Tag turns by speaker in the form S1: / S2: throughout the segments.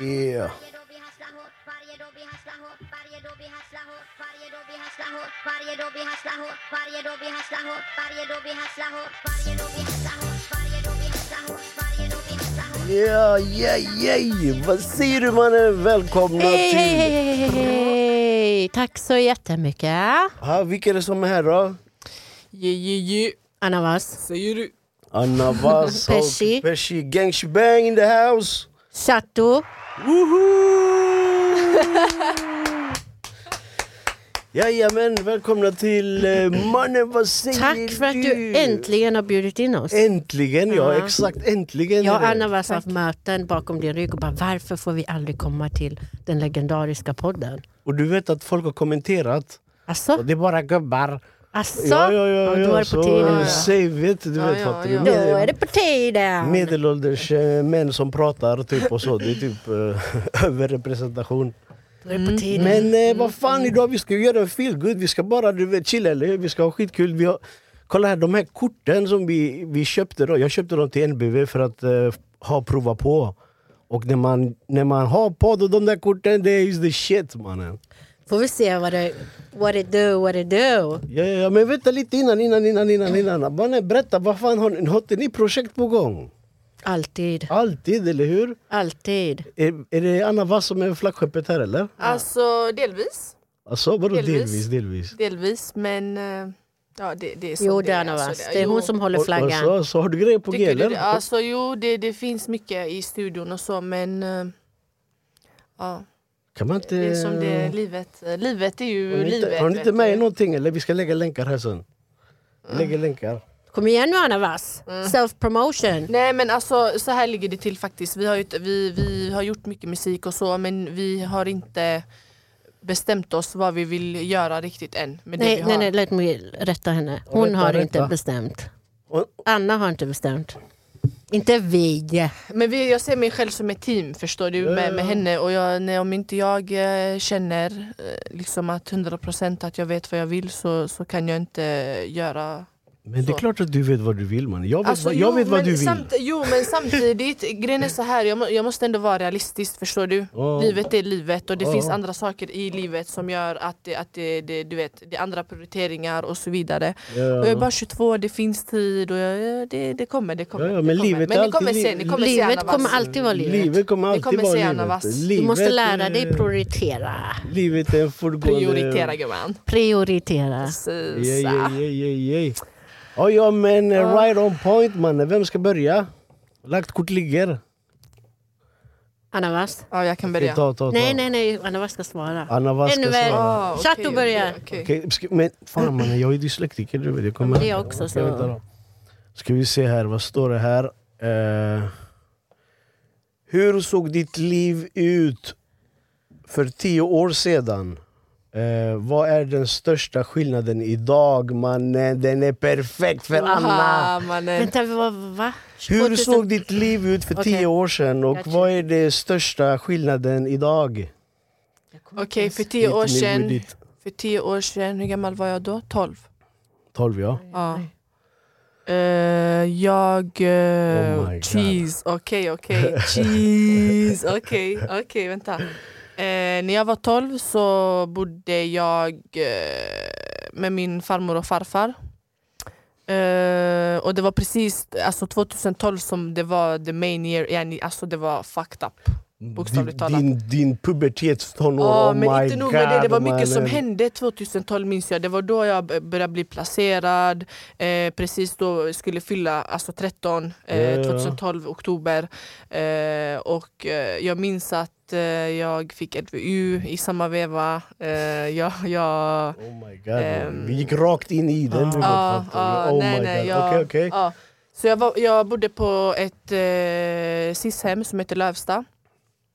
S1: Yeah. Ja, ja, ja! Vad säger du mannen? Välkomna
S2: Hej,
S1: till...
S2: hej, hej, hej, hej, hej. Tack så jättemycket.
S1: Ah, vilka är det som är här då?
S3: Je, je, je.
S2: Anna Vas.
S3: Säger du?
S1: Anna Vas och
S2: Pesci.
S1: Pesci. Gang shebang in the house!
S2: Chato.
S1: Jajamän, välkomna till eh, Mannen vad säger
S2: Tack för att du
S1: du?
S2: äntligen har bjudit in oss.
S1: Äntligen, ja
S2: Ja.
S1: exakt äntligen!
S2: Jag
S1: är
S2: och
S1: det.
S2: Anna Vas har haft möten bakom din rygg och bara varför får vi aldrig komma till den legendariska podden?
S1: Och du vet att folk har kommenterat. Och
S2: Alltså,
S1: det är bara gubbar.
S2: alltså.
S1: Ja, ja, ja,
S2: då
S1: ja,
S2: är det på
S1: så
S2: tiden.
S1: säg vet du, du vet
S3: ja,
S1: fattar du?
S3: ja.
S2: Då
S1: Medel-
S2: är det på tiden.
S1: Medelålders eh, män som pratar typ och så, det är typ eh, överrepresentation.
S2: Då är det på tiden.
S1: Men
S3: Mm.
S1: eh, vad fan idag, vi ska ju göra en feel good. vi ska bara du vet, chilla eller hur? Vi ska ha skitkul. Vi har, kolla här, de här korten som vi, vi köpte då, jag köpte dem till NBV för att eh, ha prova på. Och när man, när man har podd och de där korten, det är the shit mannen.
S2: Får vi se vad det, what it do, what it do.
S1: Ja, ja, ja, men vänta lite innan, innan, innan, innan, innan. Mannen, berätta, vad fan har ni, har inte ni projekt på gång?
S2: Alltid,
S1: Alltid, eller hur?
S2: alltid.
S1: Är, är det Anna Wass som är flaggskeppet här eller?
S3: Alltså delvis.
S1: Alltså vadå
S3: Delvis.
S1: delvis, delvis?
S3: Delvis, men... eh, Ja, det, det är som
S2: Jo,
S3: det
S2: det är
S3: är.
S2: Anna
S3: alltså,
S2: Vas.
S3: det-
S2: Det är hon
S3: jo.
S2: som håller
S1: Och- och
S2: flaggan.
S1: Så, så har du grejer på g
S3: Tycker du
S1: eller?
S3: det? Alltså jo, det, det finns mycket i studion och så, men... eh, Ja,
S1: Kan man inte...
S3: det är som det är livet. Eh, Livet är ju
S1: Har ni inte,
S3: livet.
S1: har ni inte
S3: vet
S1: med
S3: du.
S1: er någonting eller? Vi ska lägga länkar här sen. Vi lägger länkar.
S2: Kom igen nu Anna Vas.
S3: Mm.
S2: Self promotion.
S3: Nej men alltså så här ligger det till faktiskt. Vi har, ju, inte- vi, vi har gjort mycket musik och så men vi har inte bestämt oss vad vi vill göra riktigt än. Med det vi
S2: Nej,
S3: har.
S2: nej, nej, låt mig rätta henne. Hon
S1: Rätta,
S2: har
S1: rätta.
S2: inte bestämt.
S1: Och,
S2: Anna har inte bestämt. Inte vi.
S3: Men vi, jag ser mig själv som ett team förstår du med, med henne och jag, när, om inte jag eh, känner eh, liksom att 100% att jag vet vad jag vill så, så kan jag inte eh, göra
S1: men det är
S3: Så. Alltså,
S1: klart att du vet vad du vill man. Jag vet, vad, jag
S3: jo,
S1: vet vad
S3: men
S1: du vill.
S3: samt- jo men samtidigt, grejen är så här, jag, må, jag måste ändå vara realistisk förstår du.
S1: Ja.
S3: Livet är livet och det
S1: Ja.
S3: finns andra saker i livet som gör att, det, att det, det, du vet, det är andra prioriteringar och så vidare.
S1: Ja.
S3: Och jag är bara 22, det finns tid och jag, det, det kommer, det kommer.
S1: Ja, ja, men
S3: det kommer.
S1: livet är
S3: men ni kommer
S1: alltid
S3: se, ni
S1: li-
S3: kommer se
S2: Livet
S3: Anna
S2: kommer
S3: Wass.
S2: alltid vara livet.
S1: Livet kommer alltid
S3: kommer
S1: vara
S3: se
S1: livet.
S3: Anna Wass. Du
S2: Du
S1: livet.
S2: måste lära dig
S1: eh,
S2: prioritera.
S1: Livet är en fullgående...
S3: Prioritera gumman.
S2: Prioritera.
S3: Precis.
S1: Ja, ja, ja, ja, ja. Ja, ja, men eh, right on point mannen. Vem ska börja? Lagt kort ligger.
S2: Anna Wass?
S3: Ja, jag kan börja.
S1: Ta, ta, ta.
S2: Nej, nej, nej. Anna Wass ska svara.
S1: Anna Wass ska
S2: Ännu värre.
S1: svara.
S3: Ah, okej,
S2: Chato börjar.
S3: okej, okej.
S1: Okej, ska- men fan mannen, jag är dyslektiker. Du vet, jag kommer...
S2: Det är jag också,
S1: Okej,
S2: så-
S1: vänta då. Ska vi se här, vad står det här? Eh, hur såg ditt liv ut för tio år sedan? Eh, vad är den största skillnaden idag mannen? Den är perfekt för alla!
S3: Ah, mannen.
S2: Vänta, vad? va?
S1: Hur
S2: 2000
S1: såg ditt liv ut för
S2: Okej.
S1: tio år sedan och
S2: Gotcha.
S1: vad är den största skillnaden idag?
S3: Okej, för tio år
S1: Lite mer
S3: sedan,
S1: modigt.
S3: för tio år sedan, hur gammal var jag då? 12?
S1: 12 ja.
S3: Ja. Eh, jag... eh,
S1: Oh my God.
S3: cheese, okej okej. Cheese, okej okej vänta. Eh, när jag var 12 så bodde jag eh, med min farmor och farfar. Eh, och det var precis alltså 2012 som det var the main year, yani, alltså det var fucked up. Bokstavligt
S1: Din-
S3: talat.
S1: Din, din pubertetstonår,
S3: Ja,
S1: oh
S3: men
S1: my
S3: inte nog
S1: god
S3: med det, det var mycket som
S1: mannen.
S3: hände 2012 minns jag. Det var då jag b- började bli placerad, eh, precis då skulle fylla alltså 13,
S1: Ja,
S3: eh,
S1: ja.
S3: 2012 oktober. Eh, och eh, jag minns att eh, jag fick LVU i samma veva. Eh, jag, jag,
S1: Oh my god.
S3: Ehm,
S1: vi gick rakt in i den. du vet,
S3: Ja,
S1: fattar
S3: ja,
S1: du? oh
S3: nej,
S1: my
S3: nej,
S1: god.
S3: jag-
S1: Okej, okej.
S3: ja. Så jag, var, jag bodde på ett eh, SIS-hem som heter Lövsta.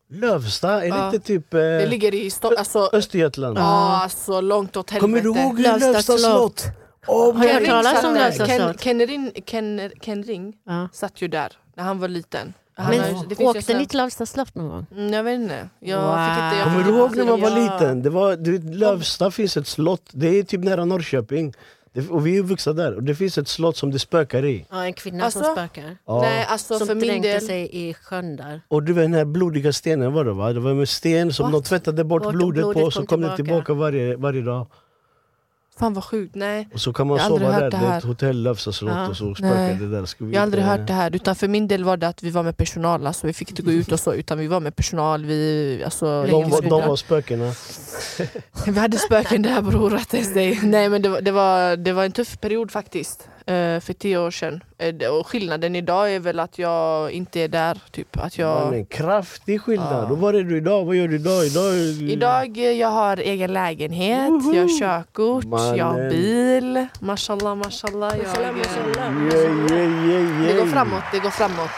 S1: Lövsta, är det
S3: Ja.
S1: inte typ eh,
S3: Det ligger i Stockholm, alltså,
S1: Östergötland?
S3: ja, alltså långt åt helvete.
S1: Kommer du ihåg
S2: Lövsta
S1: Lövsta, slott? Oh
S2: Har
S1: my
S2: jag hört
S3: Ring
S2: talas
S3: satt
S2: om
S3: där.
S2: Lövsta
S3: Ken,
S2: slott?
S3: Ken, Ring, Ken, Ken Ring
S2: Ja.
S3: satt ju där när han var liten. Han har-
S2: Men
S3: det finns ju en
S2: åkte
S3: sån-
S2: ni till Lavsta slott någon gång?
S3: Mm, Jag vet inte. Jag
S2: Wow.
S3: fick inte jag
S1: Kommer
S3: fick
S1: du
S3: inte
S1: ihåg när man var
S3: Ja.
S1: liten? Det var, du vet, Lövsta finns ett slott, det är typ nära Norrköping. Det, och vi är vuxna där. Och det finns ett slott som det spökar i.
S2: Ja, en kvinna som
S3: Alltså?
S2: spökar.
S1: Ja.
S3: Nej, alltså
S2: som
S3: för min
S2: dränkte
S3: del.
S2: sig i sjön där.
S1: Och du vet den här blodiga stenen var det va? Det var med sten som
S3: What?
S1: de tvättade bort
S2: Bort och
S1: blodet,
S2: blodet
S1: på och så
S2: kom
S1: kom den
S2: tillbaka
S1: tillbaka varje, varje dag.
S3: Fan vad sjukt. Nej.
S1: Och så kan man
S3: Jag har aldrig
S1: sova där.
S3: hört det
S1: Det är
S3: här.
S1: ett hotell, Löfsa slott
S2: Ja.
S1: och så spökar
S3: Nej.
S1: det där. Ska vi
S3: Jag har aldrig
S1: inte-
S3: hört det här. Utan för min del var det att vi var med personal. Alltså, vi fick inte gå ut och så. Utan vi var med personal. Vi, alltså,
S2: De
S1: De, var- de
S3: lägesgudar.
S1: var spökena.
S3: Vi hade spöken där bror, att det sig. Nej men det var, det, var, det var en tuff period faktiskt. eh, För tio år sedan. Eh, det- Och skillnaden idag är väl att jag inte är där. Typ. Att
S1: Ja.
S3: jag,
S1: en kraftig skillnad.
S3: Ja.
S1: Och var är du idag? Vad gör du idag? Idag, är du-
S3: idag eh, jag har egen lägenhet, jag har körkort, jag har
S1: Mannen.
S3: bil. Mashallah, mashallah. Jag, eh,
S1: Yeah, yeah, yeah,
S3: det går
S1: yeah.
S3: framåt, det går framåt.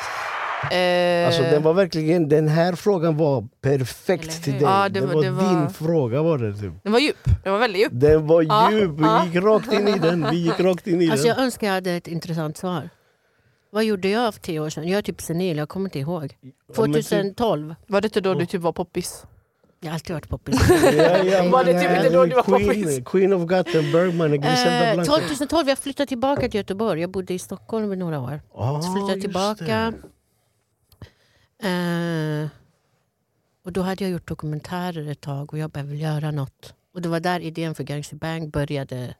S3: Eh,
S1: Alltså den var verkligen, den här frågan var
S2: Eller hur?
S1: perfekt till dig.
S3: Ja, det
S1: det,
S3: var-
S1: var
S3: det var-
S1: din fråga var det typ.
S3: Den var djup, den var väldigt djup.
S1: Den var
S3: Ja,
S1: djup, vi
S3: ja.
S1: gick rakt in i den. Vi gick rakt in i
S2: Alltså
S1: den.
S2: jag önskar jag hade ett intressant svar. Vad gjorde jag för tio år sedan? Jag är typ senil, jag kommer inte ihåg.
S1: Ja, men typ-
S2: 2012.
S3: Var det inte då du typ var poppis?
S2: Jag har alltid varit poppis.
S1: Ja, ja,
S3: Var det
S1: men
S3: typ
S1: här
S3: inte då
S1: är
S3: du var
S1: Queen,
S3: poppis?
S1: Queen of Gothenburg mannen, Griselda
S2: Eh,
S1: Blanco.
S2: 2012, jag flyttade tillbaka till Göteborg. Jag bodde i Stockholm i några år.
S1: Ah,
S2: Så flyttade jag
S1: just
S2: tillbaka. Eh, och då hade jag gjort dokumentärer ett tag och jag bara, jag vill göra något. Och det var där idén för Gangster Bang började.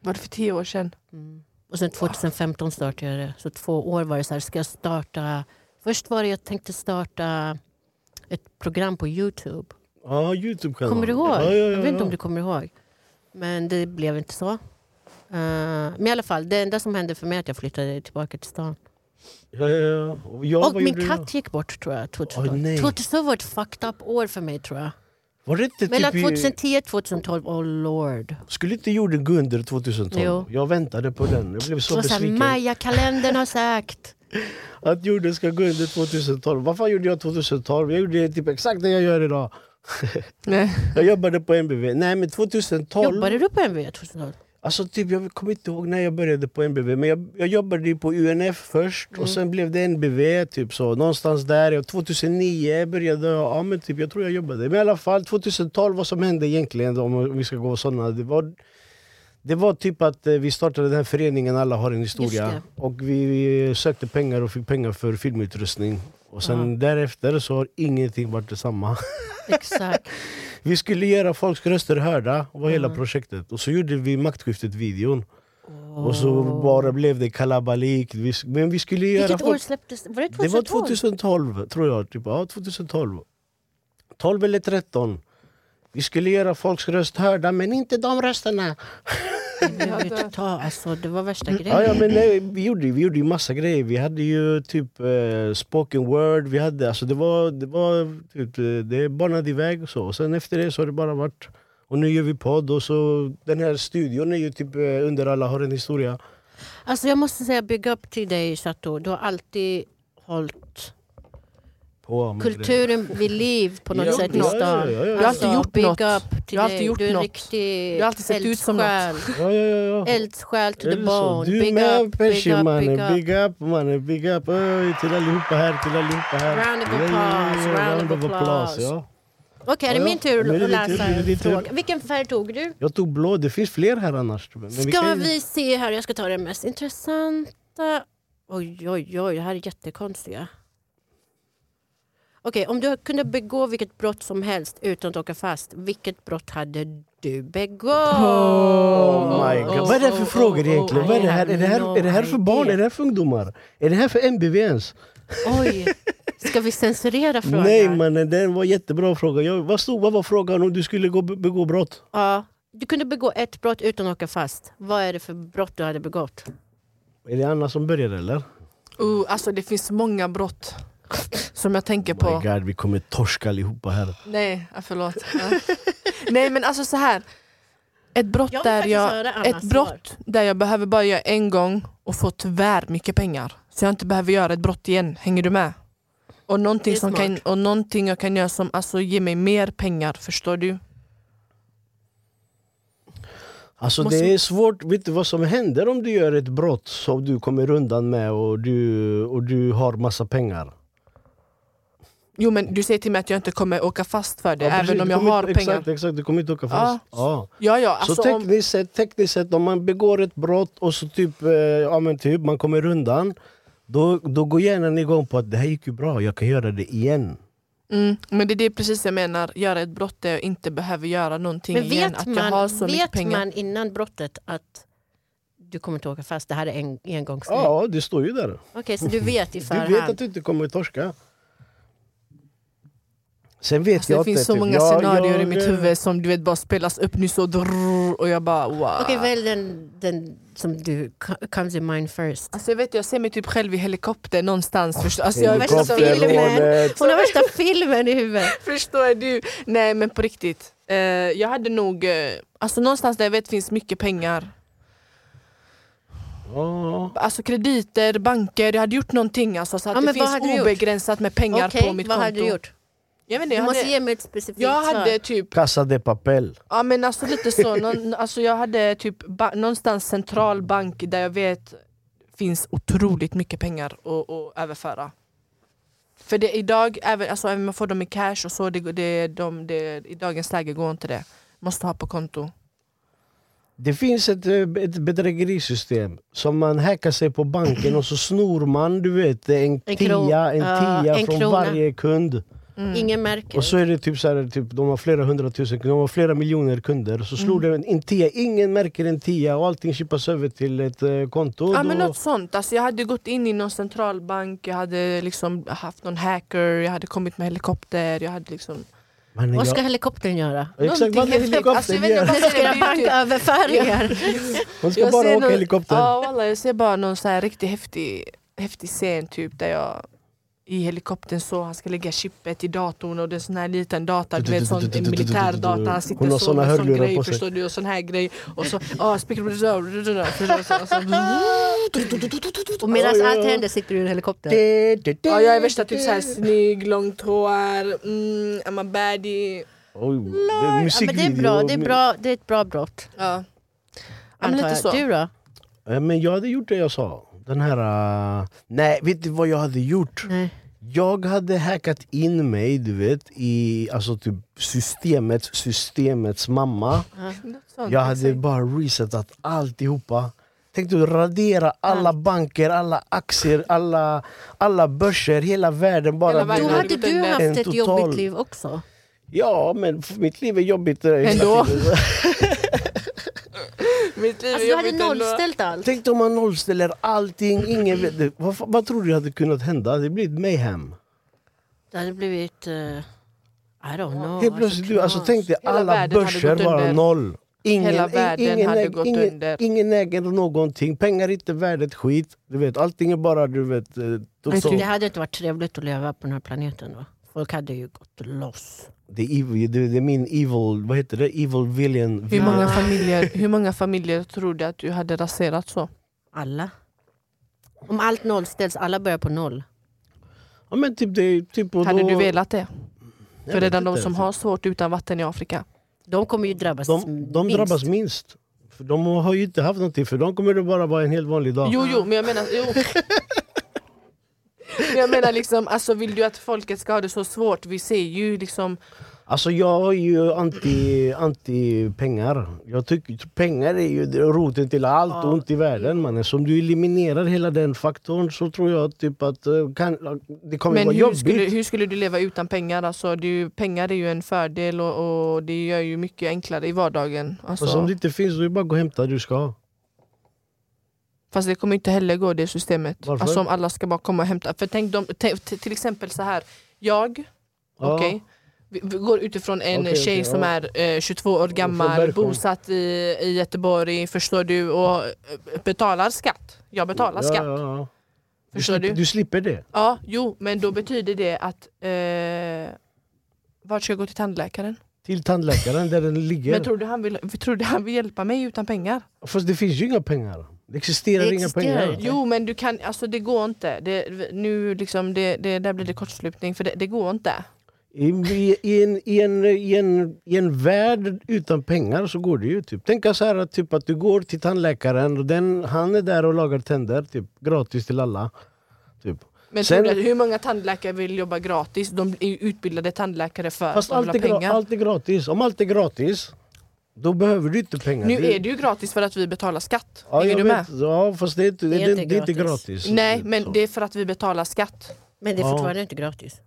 S3: Var det för tio år sedan?
S2: Och sen 2015 startade jag det. Så två år var det så här, ska jag starta... Först var det jag tänkte starta ett program på Youtube.
S1: det. Ah, Youtube-kanal.
S2: Kommer du ihåg?
S1: Ja, ja, ja,
S2: Jag vet inte om
S1: ja.
S2: du kommer ihåg. Men det blev inte så. Eh, men i alla fall, det enda som hände för mig är att jag flyttade tillbaka till stan.
S1: Ja, ja, ja. Och, jag,
S2: och
S1: vad
S2: min
S1: gjorde
S2: katt
S1: jag?
S2: gick bort tror jag. 2012.
S1: Åh, nej.
S2: 2012 var ett fucked up år för mig tror jag.
S1: Var det inte
S2: Mellan
S1: typ i-
S2: 2010 och 2012, oh lord.
S1: Skulle inte jorden gå under 2012?
S2: Jo.
S1: Jag väntade på den. Jag blev
S2: Det
S1: så
S2: var såhär,
S1: besviken.
S2: Maja-kalendern har sagt.
S1: Att jorden ska gå under 2012. Vad fan gjorde jag 2012? Jag gjorde typ exakt det jag gör idag.
S3: Nej.
S1: Jag jobbade på MBV. Nej men 2012.
S2: Jobbade du på MV 2012?
S1: Alltså typ, jag kommer inte ihåg när jag började på MBV. Men jag, jag jobbade ju på UNF först och sen blev det NBV. Typ så. Någonstans där. Och 2009 började jag. Ja, men typ, jag tror jag jobbade. Men i alla fall 2012, vad som hände egentligen om vi ska gå sådana. Det var, det var typ att eh, vi startade den här föreningen Alla har en historia.
S2: Just
S1: Och vi, vi sökte pengar och fick pengar för filmutrustning. Och sen därefter så har ingenting varit detsamma.
S2: Exakt.
S1: Vi skulle göra folks röster hörda, var hela
S2: Mm.
S1: projektet. Och så gjorde vi maktskiftet-videon. Och så bara blev det kalabalik. Vi- Men vi skulle göra...
S2: Vilket år
S1: folk-
S2: släpptes? Var det 2012?
S1: det var 2012, tror jag. Typ. Ja, 2012. 12 eller 13. Vi skulle göra folks röst hörda, men inte de rösterna.
S2: Jag vill inte ta, alltså, det var värsta grejen.
S1: Mm. Ja, ja, men nej, vi, gjorde, ju- vi gjorde ju massa grejer. Vi hade ju typ eh, spoken word. Vi hade, alltså, det var, det var typ, eh, det banade iväg och så. Och sen efter det så har det bara varit... Och nu gör vi podd och så... Den här studion är ju typ eh, under alla har en historia.
S2: Alltså, jag måste säga bygga upp till dig Chateau. Du har alltid hållit
S1: På med grejer.
S2: kulturen vid liv på något
S1: Ja,
S2: sätt i
S3: ja,
S2: stan.
S1: ja, ja, ja.
S3: Du har alltid gjort
S2: big
S3: något.
S2: Up till
S3: Du har alltid
S2: dig.
S3: gjort
S2: du är
S3: något.
S2: riktig
S3: Du har alltid sett ut som något.
S2: eldsjäl.
S1: Ja, ja, ja, ja.
S2: Eldsjäl to
S1: Är
S2: the
S1: det så?
S2: bone.
S1: Du
S2: Big
S1: med
S2: up, big
S1: Pesci
S2: up, big
S1: mannen,
S2: up.
S1: big up mannen, big up! Öj, till allihopa här, till allihopa här!
S2: Round of
S1: Ja, ja,
S2: applause,
S1: ja,
S2: round of applause.
S1: ja.
S2: Okej, är det
S1: Ja,
S2: min tur
S1: ja. Nu är
S2: att
S1: det din tur,
S2: läsa
S1: nu är det din
S2: en
S1: tur.
S2: fråga? Vilken färg tog du?
S1: Jag tog blå, det finns fler här annars. Men
S2: Ska vi se här, jag ska ta den mest intressanta. Oj, oj, oj, det här är jättekonstiga. Okej, om du kunde begå vilket brott som helst utan att åka fast, vilket brott hade du begått?
S1: Oh my god. Vad är det här för
S3: oh,
S1: frågor
S3: oh,
S1: egentligen?
S2: oh,
S1: Vad är
S2: I
S1: det här?
S2: have
S1: Är det här,
S2: no
S1: är det här för barn?
S2: idea.
S1: Är det här för ungdomar? Är det här för MBV ens?
S2: Oj, ska vi censurera frågan?
S1: Nej mannen, det var en jättebra fråga. Jag, vad, stod, vad var frågan om du skulle gå, begå brott?
S2: Ja, du kunde begå ett brott utan att åka fast. Vad är det för brott du hade begått?
S1: Är det Anna som börjar eller?
S3: Uh, alltså det finns många brott som jag tänker
S1: Oh
S3: på.
S1: my god, vi kommer torska allihopa här.
S3: Nej, ja, förlåt. Ja. Nej men alltså så här. Ett brott,
S2: Jag vill
S3: där
S2: faktiskt
S3: jag,
S2: höra Annas
S3: ett brott där jag behöver bara göra en gång och få tyvärr mycket pengar. Så jag inte behöver göra ett brott igen. Hänger du med? Och
S2: Det
S3: någonting,
S2: är
S3: som kan, och någonting jag kan göra som alltså, ger mig mer pengar. Förstår du?
S1: Alltså
S3: Måste-
S1: det är svårt, vet du vad som händer om du gör ett brott som du kommer undan med och du, och du har massa pengar?
S3: Jo men du säger till mig att jag inte kommer åka fast för det,
S1: Ja, precis,
S3: även om
S1: du
S3: jag
S1: kommer
S3: har
S1: inte,
S3: pengar.
S1: Exakt, exakt, du kommer inte åka
S3: Ja.
S1: fast. Ja.
S3: Ja, ja, alltså,
S1: så
S3: om,
S1: tekniskt sett, tekniskt sett, om man begår ett brott och så typ, eh, ja, men typ man kommer undan då, då går hjärnan igång på att det här gick ju bra, jag kan göra det igen.
S3: mm, men det är det precis jag menar, göra ett brott där jag inte behöver göra någonting
S2: Men
S3: igen.
S2: vet,
S3: Att jag har
S2: man,
S3: så mycket
S2: vet
S3: pengar.
S2: man innan brottet att du kommer inte åka fast, det här är en engångsgrej?
S1: Ja, det står ju där.
S2: Okej, så du vet i förhand?
S1: Du vet att du inte kommer att torska. Sen vet
S3: Alltså,
S1: jag
S3: det finns
S1: inte,
S3: så
S1: typ,
S3: många
S1: ja,
S3: scenarier
S1: jag,
S3: i mitt
S1: eh,
S3: huvud som du vet bara spelas upp nu så drrrr, och jag bara wow.
S2: Okej, välj den, den som du co- comes in mind first.
S3: Alltså jag vet, jag ser mig typ själv i helikopter
S1: Ah,
S3: någonstans. Förstår, alltså, jag är
S2: Helikopter,
S3: värsta filmen.
S2: filmen.
S1: Helikopterrådet.
S2: Hon har värsta filmen i huvudet.
S3: Förstår du? Nej men på riktigt. Eh, jag hade nog, eh, alltså någonstans där jag vet finns mycket pengar.
S1: Ja.
S3: Alltså krediter, banker, jag hade gjort någonting alltså, så att
S2: Ja,
S3: det
S2: men vad
S3: finns
S2: hade du gjort?
S3: obegränsat med pengar
S2: Okej,
S3: på mitt
S2: vad
S3: konto.
S2: hade du gjort?
S3: Jag, vet inte,
S2: Du
S3: jag,
S2: måste
S3: hade,
S2: ge mig ett specifikt
S3: jag
S2: svar.
S3: hade typ,
S1: Casa de papel.
S3: ja men alltså lite så, någon, alltså, jag hade typ ba- någonstans central bank där jag vet finns otroligt mycket pengar att, att överföra. För det, idag, även, alltså, även om man får dem i cash och så, det, det, de, det, i dagens läge går inte det. Måste ha på konto.
S1: Det finns ett, eh, ett bedrägerisystem som man hackar sig på banken och så snor man du vet, en
S2: En kro-
S1: tia, en
S2: ja,
S1: tia
S2: en
S1: från
S2: krona.
S1: varje kund.
S3: Mm.
S2: Ingen märker.
S1: Och så är det typ så här, typ, de har flera hundratusen, de har flera miljoner kunder. Så slår
S2: Mm.
S1: det en, en tia, ingen märker en tia och allting chippas över till ett eh, konto.
S3: Ja men
S1: Då-
S3: något sånt. Alltså, jag hade gått in i någon centralbank, jag hade liksom haft någon hacker, jag hade kommit med helikopter, jag hade liksom...
S1: men
S2: Vad
S1: jag,
S2: ska helikoptern göra?
S1: exakt vad
S3: Någonting
S1: ska
S3: häftigt. Alltså, jag
S1: helikoptern
S3: vet inte
S1: göra?
S3: vad-
S2: Den ska göra
S3: typ.
S2: banköverföringar.
S1: Hon ska
S3: Jag
S1: bara
S3: ser
S1: åka
S3: någon-
S1: helikopter.
S3: Ja wallah, jag ser bara någon så här riktigt häftig, häftig scen typ där jag i helikoptern så, han ska lägga chippet i datorn och det är sån här liten data, du vet sån militärdata, han
S1: Hon
S3: sitter
S1: har
S3: så
S1: såna
S3: med sån
S1: hörlurar
S3: grej
S1: på sig.
S3: förstår du och sån här grej och så, ja speaker
S2: Och medan
S1: Ja, ja,
S2: allt
S1: ja.
S2: händer sitter du i en helikopter.
S1: Ja,
S3: Ja jag är värsta typ såhär snygg, långt hår, mm, I'm a baddie
S1: Oj,
S2: Ja, men det, är bra, det, är bra, det är ett bra brott.
S3: Ja. Ja, men
S2: Antar
S3: lite
S2: jag.
S3: så.
S2: Du då?
S1: Eh, Men jag hade gjort det jag sa. Den här... eh, nej, vet du vad jag hade gjort?
S2: Nej.
S1: Jag hade hackat in mig, du vet, i alltså typ systemets, systemets mamma.
S3: Något sånt,
S1: Jag hade
S3: exakt.
S1: bara resetat alltihopa. Tänkte du radera alla banker, alla aktier, alla, alla börser, hela världen. Bara,
S3: Hela världen.
S2: Då
S3: Verkligen.
S2: hade du
S3: En
S2: haft ett
S1: total-
S2: jobbigt liv också.
S1: Ja, men f- mitt liv är jobbigt. eh, hela
S3: Ändå.
S1: tiden.
S3: Mitt liv är
S2: Alltså, du hade
S3: jobbigt ändå.
S2: nollställt allt.
S1: Tänk om man nollställer allting. Ingen vet, det. vad, fa- vad tror du hade kunnat hända? Det blir ett mayhem.
S2: Det hade blivit... eh, I don't know.
S1: Helt plötsligt, du, alltså, tänk dig
S3: Hela
S1: alla
S3: världen hade
S1: börser
S3: gått
S1: bara
S3: under.
S1: noll. Ingen,
S3: Hela
S1: i-
S3: världen
S1: ingen,
S3: hade
S1: äg-
S3: gått
S1: ingen,
S3: under.
S1: ingen äger någonting, pengar är inte värdet skit. Du vet, allting är bara du vet, eh, totalt.
S2: Det hade inte varit trevligt att leva på den här planeten. Då. Folk hade ju gått loss.
S1: Det är, evil, det, det är min evil, vad heter det? Evil villain.
S3: Hur
S1: villain.
S3: många, familjer, hur många familjer tror du att du hade raserat så?
S2: Alla. Om allt nollställs, alla börjar på noll.
S1: Ja, men typ det, är- typ, och
S3: Hade
S1: då,
S3: du velat det?
S1: Jag
S3: För
S1: vet
S3: redan de
S1: inte.
S3: som har svårt utan vatten i Afrika.
S2: De kommer ju drabbas
S1: De, de
S2: minst.
S1: drabbas minst. För de har ju inte haft någonting, för de kommer det bara vara en helt vanlig dag.
S3: Jo, jo, men jag menar... Jo. Men jag menar liksom, alltså vill du att folket ska ha det så svårt? Vi ser ju liksom...
S1: Alltså jag är ju anti, anti pengar. Jag tycker pengar är ju roten till allt ont i världen mannen. Så om du eliminerar hela den faktorn så tror jag typ att eh, kan, det kommer
S3: Men
S1: vara
S3: hur
S1: jobbigt.
S3: skulle, hur skulle du leva utan pengar? Alltså, det är ju, pengar är ju en fördel och, och det gör ju mycket enklare i vardagen. Alltså,
S1: Alltså, om det inte finns då är det bara att gå och hämta det du ska ha.
S3: Fast det kommer inte heller gå det systemet.
S1: Varför?
S3: Alltså om alla ska bara komma och hämta. För tänk de, t- t- till exempel så här. jag
S1: Ja.
S3: Okej. Vi, vi går utifrån en
S1: Okej,
S3: tjej
S1: okej,
S3: som
S1: ja.
S3: är eh, 22 år gammal,
S1: Bergsjön.
S3: bosatt i, i Göteborg, förstår du, och eh, betalar skatt. Jag betalar skatt.
S1: Ja, ja, ja.
S3: Förstår
S1: slipper-
S3: du?
S1: Du slipper det.
S3: Ja, jo, men då betyder det att eh, vart ska jag gå till tandläkaren?
S1: Till tandläkaren där den ligger.
S3: Men tror du, han vill, tror du han vill hjälpa mig utan pengar?
S1: Fast det finns ju inga pengar. Det existerar,
S2: Det
S1: inga
S2: existerar
S1: pengar.
S2: inte.
S3: Jo, men du kan, alltså det går inte. Det, nu liksom, det, det, där blir det kortslutning, för det, det går inte.
S1: I, i, i, en, i, en, i, en, I en värld utan pengar så går det ju. Typ. Tänk så här att, typ, att du går till tandläkaren och den, han är där och lagar tänder typ, gratis till alla. Typ.
S3: Men
S1: Sen-
S3: tror du, att- hur många tandläkare vill jobba gratis? De är ju utbildade tandläkare för
S1: Fast
S3: att de
S1: allt är,
S3: vill ha
S1: gra-
S3: pengar.
S1: allt är gratis. Om allt är gratis, då behöver du inte pengar.
S3: Nu är det ju gratis för att vi betalar skatt.
S1: ja,
S3: Hänger
S1: jag
S3: du med?
S1: vet. Ja, fast det är inte, det, det, det är inte gratis.
S3: Nej, men det är för att vi betalar skatt.
S2: Men det är
S1: Ja.
S2: fortfarande inte gratis.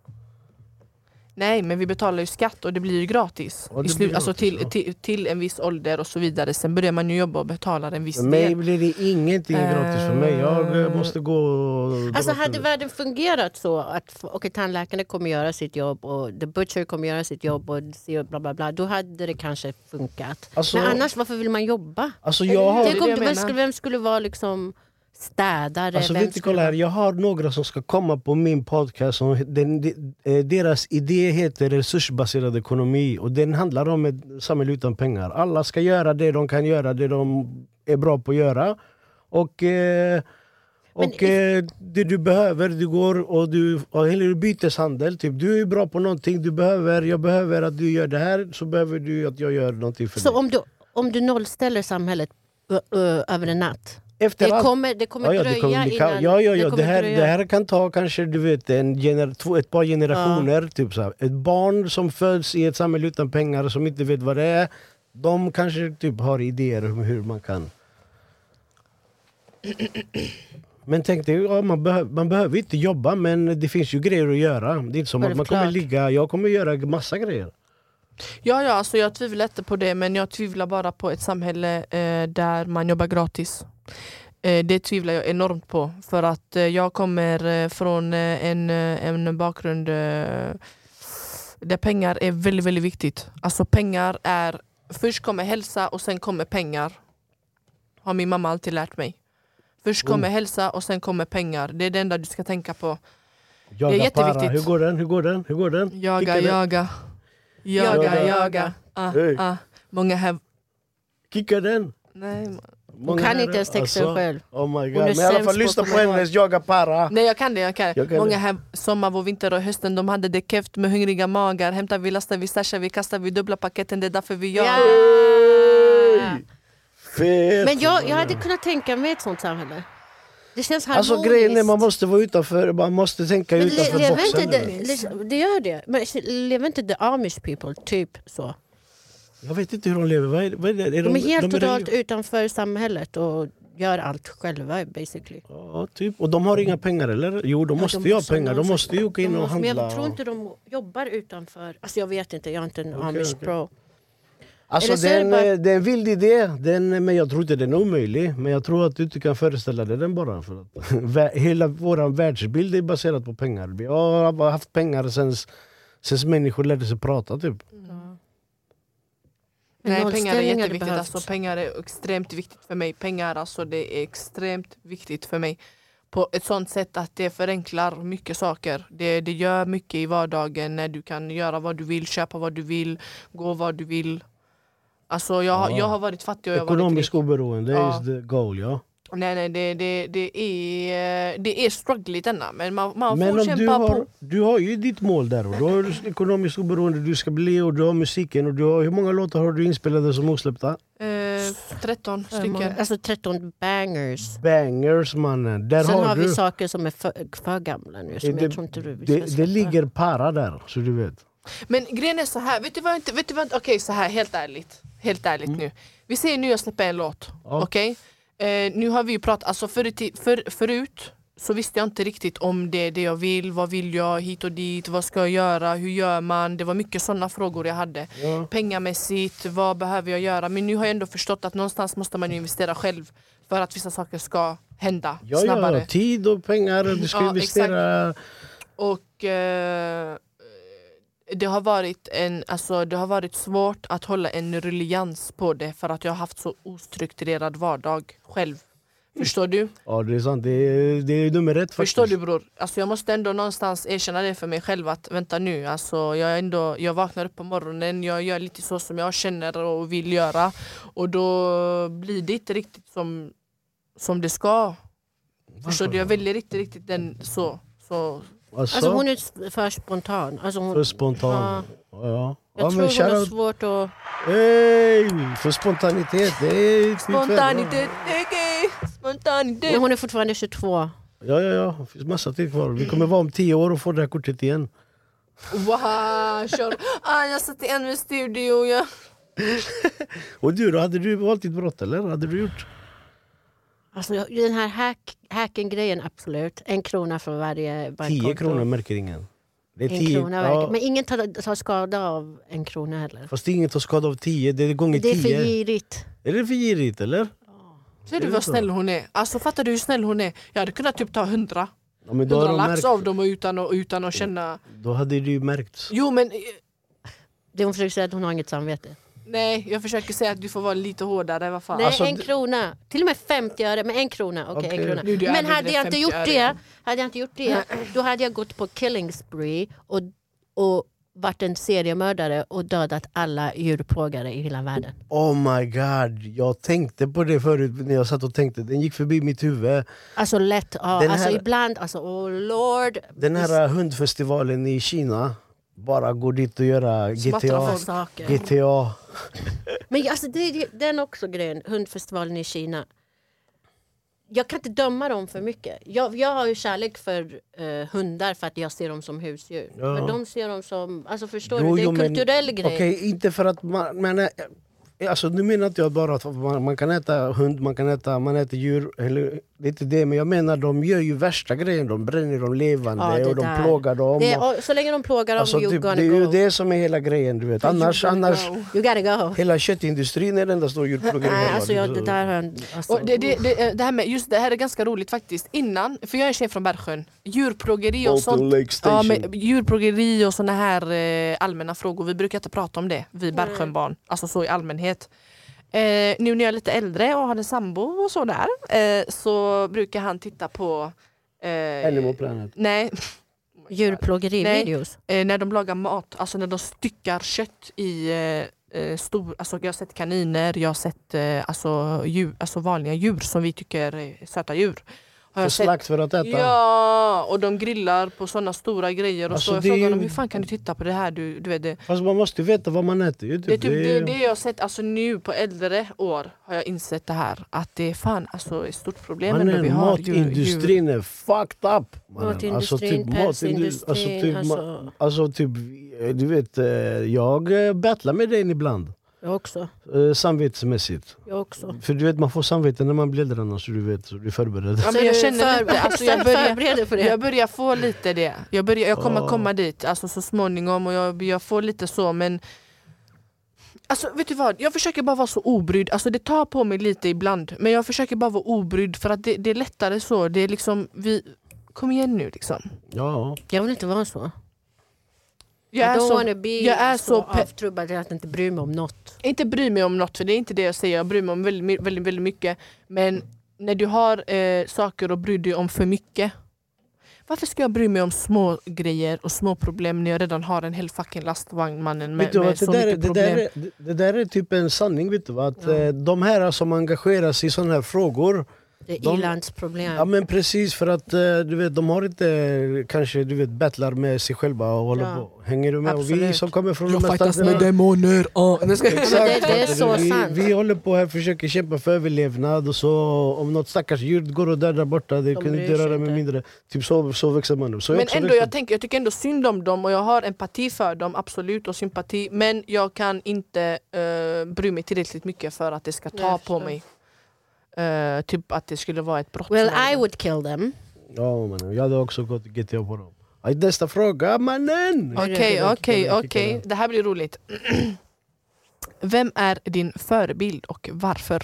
S3: Nej, men vi betalar ju skatt och det blir ju gratis.
S1: Ja, det
S3: I slut,
S1: blir
S3: alltså
S1: gratis,
S3: till,
S1: ja.
S3: till, till en viss ålder och så vidare. Sen börjar man ju jobba och betalar en viss
S1: För mig
S3: del.
S1: blir det ingenting gratis för mig. Jag eh,
S3: Eh.
S1: måste gå och...
S2: Alltså hade världen fungerat så att okay, tandläkarna kommer göra sitt jobb och the butcher kommer göra sitt jobb och se och bla bla bla. Då hade det kanske funkat.
S1: Alltså-
S2: Men annars varför vill man jobba?
S1: Alltså jag har...
S3: det
S2: Tänk om
S3: jag
S2: du, vem,
S3: menar.
S2: skulle, vem skulle vara liksom städare?
S1: Alltså,
S2: Eh, vem
S1: vet du,
S2: skulle
S1: kolla här,
S2: vara-
S1: jag har några som ska komma på min podcast. Som, den, de- eh, deras idé heter resursbaserad ekonomi och den handlar om ett samhälle utan pengar. Alla ska göra det de kan göra, det de är bra på att göra. Och, eh,
S2: Men
S1: och eh, det du behöver, du går och du, och, eller du byteshandel. Typ. Du är bra på någonting, du behöver, jag behöver att du gör det här, så behöver du att jag gör någonting för
S2: Så
S1: dig.
S2: om du, om du nollställer samhället ö, ö, över en natt.
S1: Efter
S2: Det
S1: allt-
S2: kommer, det kommer
S1: ja, ja,
S2: dröja
S1: det kommer bli kaos.
S2: innan...
S1: Ja, ja, ja. Det,
S2: kommer
S1: här,
S2: dröja.
S1: det här kan ta kanske du vet, en gener- två, ett par generationer. Typ så här. Ett barn som föds i ett samhälle utan pengar som inte vet vad det är. De kanske typ har idéer om hur man kan... Men tänk dig, ja, man, behö- man behöver inte jobba men det finns ju grejer att göra. Det är inte som att man kommer
S2: Självklart.
S1: ligga, jag kommer göra massa grejer.
S3: Ja, ja, alltså jag tvivlar inte på det men jag tvivlar bara på ett samhälle eh, där man jobbar gratis. Eh, det tvivlar jag enormt på för att eh, jag kommer eh, från eh, en, eh, en bakgrund eh, där pengar är väldigt, väldigt viktigt. Alltså pengar är, först kommer hälsa och sen kommer pengar. Har min mamma alltid lärt mig. Först kommer hälsa och sen kommer pengar. Det är det enda du ska tänka på.
S1: Jaga para.
S3: jätteviktigt.
S1: Hur går den? Hur går den? Hur går den? Fick
S3: Jaga,
S1: jag den?
S3: jaga.
S2: Jaga,
S3: Jaga,
S2: jaga.
S3: jaga. Ah,
S1: Hej.
S3: ah. Många här...
S1: Kicka den?
S3: Nej,
S2: Hon
S1: Många
S2: kan
S1: här-
S2: inte ens texten
S1: alltså,
S2: själv.
S1: Oh my god. Men
S2: är
S1: i alla fall
S2: sämst på
S1: lyssna
S2: att
S1: på
S2: komma ihåg.
S1: hennes Jaga para.
S3: Nej jag kan det, jag kan det.
S1: Jag kan
S3: Många
S1: det.
S3: här sommar, vår vinter och hösten de hade det keft med hungriga magar. Hämtar vi, lastar vi, stashar vi, kastar vi dubbla paketen. Det är därför vi gör.
S2: Ja.
S1: Fet.
S2: Men jag, jag hade kunnat tänka mig ett sånt samhälle. Det känns harmoniskt.
S1: Alltså grejen är man måste vara utanför, man måste tänka
S2: Men le-
S1: utanför
S2: lever
S1: boxen.
S2: inte det, le- det gör det. Men lever inte the Amish people typ så?
S1: Jag vet inte hur de lever. Vad är, vad är det? Är
S2: De är helt
S1: de
S2: totalt utanför samhället och gör allt själva basically.
S1: Ja, typ. Och de har inga pengar eller? Jo, de
S2: Ja,
S1: måste
S2: de
S1: ju ha
S2: måste ha
S1: pengar. De
S2: någon
S1: måste ju åka in
S2: De
S1: och
S2: måste-
S1: handla.
S2: men jag tror
S1: och-
S2: inte de jobbar utanför. Alltså jag vet inte, jag är inte en
S1: Okej,
S2: Amish
S1: okej.
S2: pro.
S1: Alltså
S2: Eller så
S1: det är,
S2: är det
S1: en,
S2: bara-
S1: eh, det är en vild idé, den, men jag tror inte den är omöjlig. Men jag tror att du inte kan föreställa dig den bara. För att, vä- hela vår världsbild är baserad på pengar. Vi har bara haft pengar sen, sen människor lärde sig prata typ.
S2: Men
S3: Mm. Nej, pengar är
S2: nollställning hade
S3: jätteviktigt.
S2: behövts.
S3: Alltså, pengar är extremt viktigt för mig. Pengar alltså, det är extremt viktigt för mig. På ett sånt sätt att det förenklar mycket saker. Det, det gör mycket i vardagen när du kan göra vad du vill, köpa vad du vill, gå vad du vill. Alltså jag, har-
S1: Ja.
S3: jag har varit fattig och jag har varit rik.
S1: Ekonomisk oberoende
S3: Ja.
S1: is the goal ja.
S3: Nej, nej, det, det, det är, eh, det är struggligt denna, men man, man
S1: Men
S3: får
S1: om
S3: kämpa
S1: du har,
S3: på.
S1: du har ju ditt mål där och du har ju ekonomiskt oberoende, du ska bli och du har musiken och du har, hur många låtar har du inspelade som osläppta?
S3: Eh, 13 stycken.
S2: Alltså 13 bangers.
S1: Bangers mannen, där
S2: Sen har,
S1: har
S2: vi
S1: du.
S2: saker som är för, för gamla nu. Som
S1: Det-
S2: jag tror inte du vi ska
S1: Det, det
S2: släppa.
S1: ligger para där så du vet.
S3: Men grejen är så här, vet du vad, jag inte- vet du vad, okej så här, helt ärligt. Helt ärligt nu. Vi säger nu jag släpper en låt,
S1: Mm. Ja.
S3: okej? Eh, nu har vi ju pratat, alltså förr, i ti- för, förut så visste jag inte riktigt om det, det jag vill, vad vill jag, hit och dit, vad ska jag göra, hur gör man? Det var mycket sådana frågor jag hade.
S1: Ja.
S3: pengamässigt, vad behöver jag göra? Men nu har jag ändå förstått att någonstans måste man ju investera själv för att vissa saker ska hända
S1: Ja, ja,
S3: snabbare.
S1: ja, tid och pengar, du ska
S3: Ja,
S1: investera.
S3: Och eh, det, har varit en, alltså, det har varit svårt att hålla en ruljans på det för att jag har haft så ostrukturerad vardag själv. Förstår du?
S1: Ja det är sant, det är, det är nummer ett faktiskt.
S3: Förstår du bror? Alltså jag måste ändå någonstans erkänna det för mig själv att vänta nu, alltså jag, är ändå, jag vaknar upp på morgonen, jag gör lite så som jag känner och vill göra och då blir det inte riktigt som, som det ska. Förstår du? Jag väljer inte riktigt den så. så.
S1: Alltså,
S2: Alltså hon är för spontan. Alltså hon,
S1: för spontan. Ja. Ja.
S2: jag tror
S1: men
S2: hon har
S1: shoutout.
S2: svårt att...
S1: Hey, för spontanitet. Det är typ-
S3: Spontanitet, okej! Spontanitet!
S2: Men hon är fortfarande 22.
S1: Ja. Ja, ja, ja. Det finns massa tid kvar. Vi kommer vara om tio år och få det här kortet igen.
S3: Wow, kör. Ah, jag satt i en studio. Jag...
S1: Och du då? Hade du valt ditt brott eller? Hade du gjort?
S2: Alltså, jag- den här hack, hacken-grejen, absolut. En krona från varje bankkonto.
S1: 10 kronor märker ingen. Det är
S2: En
S1: 10.
S2: krona verkligen.
S1: Ja,
S2: Men ingen tar, tar skada av en krona heller.
S1: fast ingen tar skada av 10. Det är gånger
S2: Det är för
S1: 10.
S2: girigt.
S1: Är det för girigt eller?
S3: Ser
S1: Är
S3: du
S1: det
S3: vad
S1: så?
S3: snäll hon är? Alltså fattar du hur snäll hon är? Jag hade kunnat typ ta hundra.
S1: Ja, men då, har
S3: Hundra
S1: de
S3: lax
S1: märkt,
S3: av dem och utan, och utan att känna...
S1: då hade det ju märkts.
S3: Jo men... eh,
S2: Det hon försöker säga att hon har inget samvete.
S3: Nej, jag försöker säga att du får vara lite hårdare. Vad fan.
S2: Nej,
S1: Alltså,
S2: en
S1: det-
S2: krona. Till och med 50 öre, men en krona. Okej,
S1: Okej.
S2: en krona.
S3: Nu är det
S2: Men
S3: aldrig
S2: hade
S3: mer
S2: jag, inte
S3: 50
S2: gjort
S3: öre.
S2: det, hade jag inte gjort det, då hade jag gått på killing spree och, och varit en seriemördare och dödat alla djurplågare i hela världen.
S1: Oh my god, jag tänkte på det förut när jag satt och tänkte. Den gick förbi mitt huvud.
S2: Alltså lätt, ja,
S1: Den
S2: alltså
S1: här-
S2: ibland, alltså oh lord.
S1: Den här hundfestivalen i Kina. Bara gå dit och göra
S3: Smattra
S1: GTA.
S3: folk.
S2: alltså, saker.
S1: GTA.
S2: Men alltså, det, det, den också grejen, hundfestivalen i Kina. Jag kan inte döma dem för mycket. Jag, jag har ju kärlek för eh, hundar för att jag ser dem som husdjur.
S1: Ja.
S2: Men de ser dem som, alltså förstår
S1: Jo,
S2: du, det är
S1: jo,
S2: en
S1: men-
S2: kulturell grej.
S1: Okej, inte för att man... Men, eh, alltså, nu menar inte jag bara att man, man kan äta hund, man kan äta man äter djur. Eller, det är inte det, men jag menar de gör ju värsta grejen. De bränner dem levande
S2: Ja, det
S1: och de
S2: där.
S1: plågar dem.
S2: Det är-
S1: och,
S2: och så länge de plågar dem,
S1: alltså,
S2: you
S1: typ, det är
S2: gonna
S1: ju
S2: go.
S1: det som är hela grejen. du vet. Annars, annars
S3: Wow.
S2: You gotta go.
S1: hela köttindustrin är den enda stor djurplågeri.
S2: Nej,
S1: hemma,
S2: alltså
S1: det är
S2: jag, det
S1: så.
S2: där har jag... Alltså,
S3: Och det, det, det, det, här med, just det här är ganska roligt faktiskt. Innan, för jag är en tjej från Bergsjön. Djurplågeri och
S1: Bolton
S3: sånt.
S1: Lake
S3: Ja,
S1: Station.
S3: men djurplågeri och såna här eh, allmänna frågor. Vi brukar inte prata om det,
S1: Mm.
S3: vi Bergsjönbarn. Alltså så i allmänhet. Eh, nu när jag är lite äldre och har en sambo och sådär. Eh, så brukar han titta på... Eh,
S1: Animal Planet.
S3: nej,
S2: Djurplågerivideos.
S3: eh, när de lagar mat, alltså när de styckar kött i eh, eh, stor, alltså jag har sett kaniner, jag har sett eh, alltså, djur, alltså vanliga djur som vi tycker är söta djur. Har
S1: För
S3: jag sett,
S1: slakt för att äta.
S3: ja, och de grillar på sådana stora grejer och
S1: Alltså,
S3: så. Jag
S1: det är
S3: frågar
S1: ju-
S3: dem hur fan kan du titta på det här? Du, du vet det.
S1: Fast man måste ju veta vad man äter. ju, Typ.
S3: Det är typ det, det jag har sett alltså nu på äldre år har jag insett det här att det är fan alltså ett stort problem
S1: Mannen,
S3: ändå vi har. djur- djur.
S1: matindustrin är fucked up! mannen.
S2: Matindustrin,
S1: matindu-
S2: pälsindustrin,
S1: typ alltså, typ,
S2: alltså-
S1: ma- alltså typ, eh, du vet, eh, jag eh, battlar med den ibland.
S2: Jag också.
S1: Eh, samvetsmässigt.
S2: Jag också.
S1: För du vet, man får samvete när man blir äldre annars, så du vet, så du är förberedd.
S3: Ja, men jag känner lite, alltså jag börjar,
S2: förbereder för det.
S3: Jag börjar få lite det. Jag, börjar, jag kommer
S1: Ja.
S3: komma dit alltså, så småningom och jag, jag får lite så men Alltså vet du vad, jag försöker bara vara så obrydd, alltså det tar på mig lite ibland men jag försöker bara vara obrydd för att det, det är lättare så, det är liksom vi Kom igen nu liksom.
S1: Ja,
S2: Jag vill inte vara så.
S3: Jag är
S2: I don't
S3: så,
S2: wanna be
S3: jag är så pe-
S2: avtrubbad att jag inte bryr mig om något.
S3: inte bry mig om något för det är inte det jag säger, jag bryr mig om väldigt, my- väldigt, väldigt mycket men när du har eh, saker att bry dig om för mycket varför ska jag bry mig om små grejer och små problem när jag redan har en hel fucking lastvagn mannen
S1: vet
S3: med,
S1: du vad,
S3: med
S1: det
S3: så
S1: där, är-
S3: mycket
S1: det, där,
S3: problem?
S1: är- det- det där är typ en sanning, vet du va? Att eh, de här som engagerar sig i sådana här frågor,
S2: Det är
S1: De-
S2: ilandsproblem.
S1: ja men precis för att eh, du vet, de har inte eh, kanske, du vet, battlar med sig själva och håller
S2: Ja.
S1: på. Hänger du med? Och vi
S2: Absolut.
S1: som kommer från de här
S3: fightas
S1: städerna-
S3: demoner! Ah, nej, jag skojar.
S2: det- det är så
S1: vi,
S2: sant.
S1: vi håller på här och försöker kämpa för överlevnad och så om något stackars djur går och dör där borta, det
S2: De
S1: kunde
S2: bryr
S1: inte
S2: sig
S1: röra mig
S2: inte.
S1: mindre. Typ så, så växer man upp. Så jag
S3: Men
S1: också liksom-
S3: ändå,
S1: växte
S3: jag,
S1: upp.
S3: tänker, jag tycker ändå synd om dem och jag har empati för dem, absolut, och sympati. Men jag kan inte uh, bry mig tillräckligt mycket för att det ska
S2: Nej,
S3: ta
S2: jag
S3: på
S2: förstår.
S3: mig. Eh, typ att det skulle vara ett brott.
S2: Well
S3: som jag-
S2: I would kill them.
S1: Ja, mannen, jag hade också gått GTA på dem. Aj, Nästa fråga mannen!
S3: Okej, okej,
S1: killar,
S3: okej.
S1: killar.
S3: Det här blir roligt. Vem är din förebild och varför?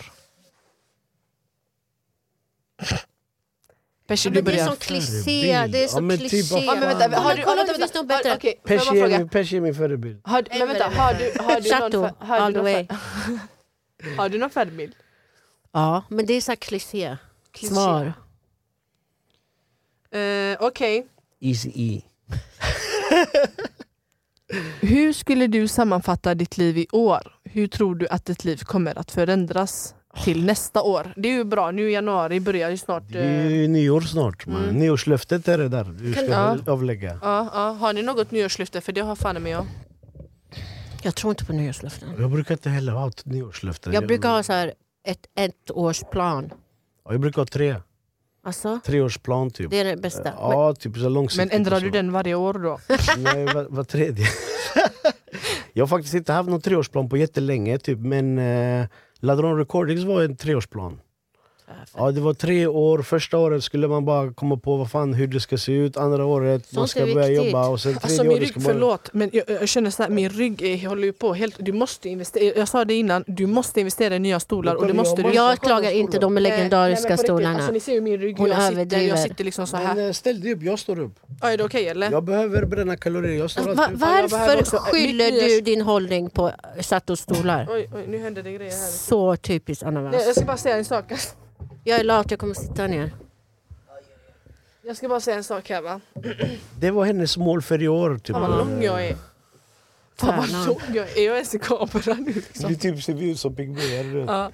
S2: Ja,
S3: Percy, du
S2: men det är
S3: börjar.
S2: sån kliché. Det är så
S1: Ja, men typ,
S2: kliché.
S1: vad
S3: Ja, men vänta,
S2: Kolla,
S3: har du,
S2: kolla om
S3: vänta,
S2: det finns något
S3: vänta.
S2: bättre.
S3: Okej, får jag bara
S1: Pesci
S3: fråga?
S1: är, Pesci är min förebild.
S3: Har, men vänta, har du, har du
S2: Chateau,
S3: någon, har
S2: all
S3: du
S2: the
S3: någon,
S2: way.
S3: fär- har du någon färdbild?
S2: Ja, men det är så här kliché.
S3: Kliché.
S2: Svar.
S3: Eh, Okej.
S1: Easy E.
S3: Hur skulle du sammanfatta ditt liv i år? Hur tror du att ditt liv kommer att förändras till nästa år? Det är ju bra, nu i januari börjar ju snart.
S1: Det
S3: eh,
S1: är ju nyår snart mannen.
S3: Mm.
S1: Nyårslöftet är det där du ska
S3: Ja.
S1: avlägga.
S3: Ja, ja. Har ni något nyårslöfte? För det har fan med jag.
S2: Jag tror inte på nyårslöften.
S1: Jag brukar inte heller ha ett nyårslöfte.
S2: Jag brukar ha så här ett ettårsplan.
S1: Ja, jag brukar ha tre.
S2: Alltså,
S1: Treårsplan typ.
S2: det är det bästa. Men,
S1: Ja, typ så långsiktigt.
S3: Men ändrar
S1: och så.
S3: du den varje år då?
S1: Nej, var, var tredje. jag har faktiskt inte haft någon treårsplan på jättelänge, typ, men eh, Ladron Recordings var en treårsplan. Ja, det var tre år. Första året skulle man bara komma på vad fan, hur det ska se ut. Andra året man
S2: Sånt
S1: ska
S2: är
S1: börja
S2: viktigt.
S1: jobba och sen tredje
S3: Alltså min
S1: året ska
S3: rygg,
S1: man...
S3: förlåt, men jag, jag känner så här, min rygg är, håller ju på helt... Du måste investera, jag sa det innan, du måste investera i nya stolar och det måste du...
S1: Ja,
S2: jag klagar inte de
S3: Eh, nej,
S2: legendariska
S3: men på riktigt,
S2: stolarna.
S3: Alltså, ni ser ju min rygg,
S2: Hon
S3: jag sitter,
S2: överdriver.
S3: jag sitter liksom så
S1: Men,
S3: här.
S1: eh, ställ dig upp, jag står upp.
S3: Ja, Alltså, är det okej eller?
S1: Jag behöver bränna kalorier. Jag står
S2: Alltså, Va,
S1: alltid upp.
S3: jag behöver
S2: varför
S3: också-
S2: skyller
S3: Mitt nya-
S2: du din hållning på Sato-stolar?
S3: Oj, oj, nu hände det grejer här.
S2: Så typiskt Anna
S3: Nej, alltså-
S2: Wans.
S3: jag ska bara säga en sak.
S2: Jag är lat, jag kommer sitta ner.
S3: Jag ska bara säga en sak här va.
S1: Det var hennes mål för i år. Typ.
S3: Fan vad lång jag är. Fan vad
S2: Stjärnan.
S3: lång jag är. Är jag ens i kameran nu
S1: Du
S3: liksom?
S1: typ ser ut som pygméer. du vet.
S3: Ja.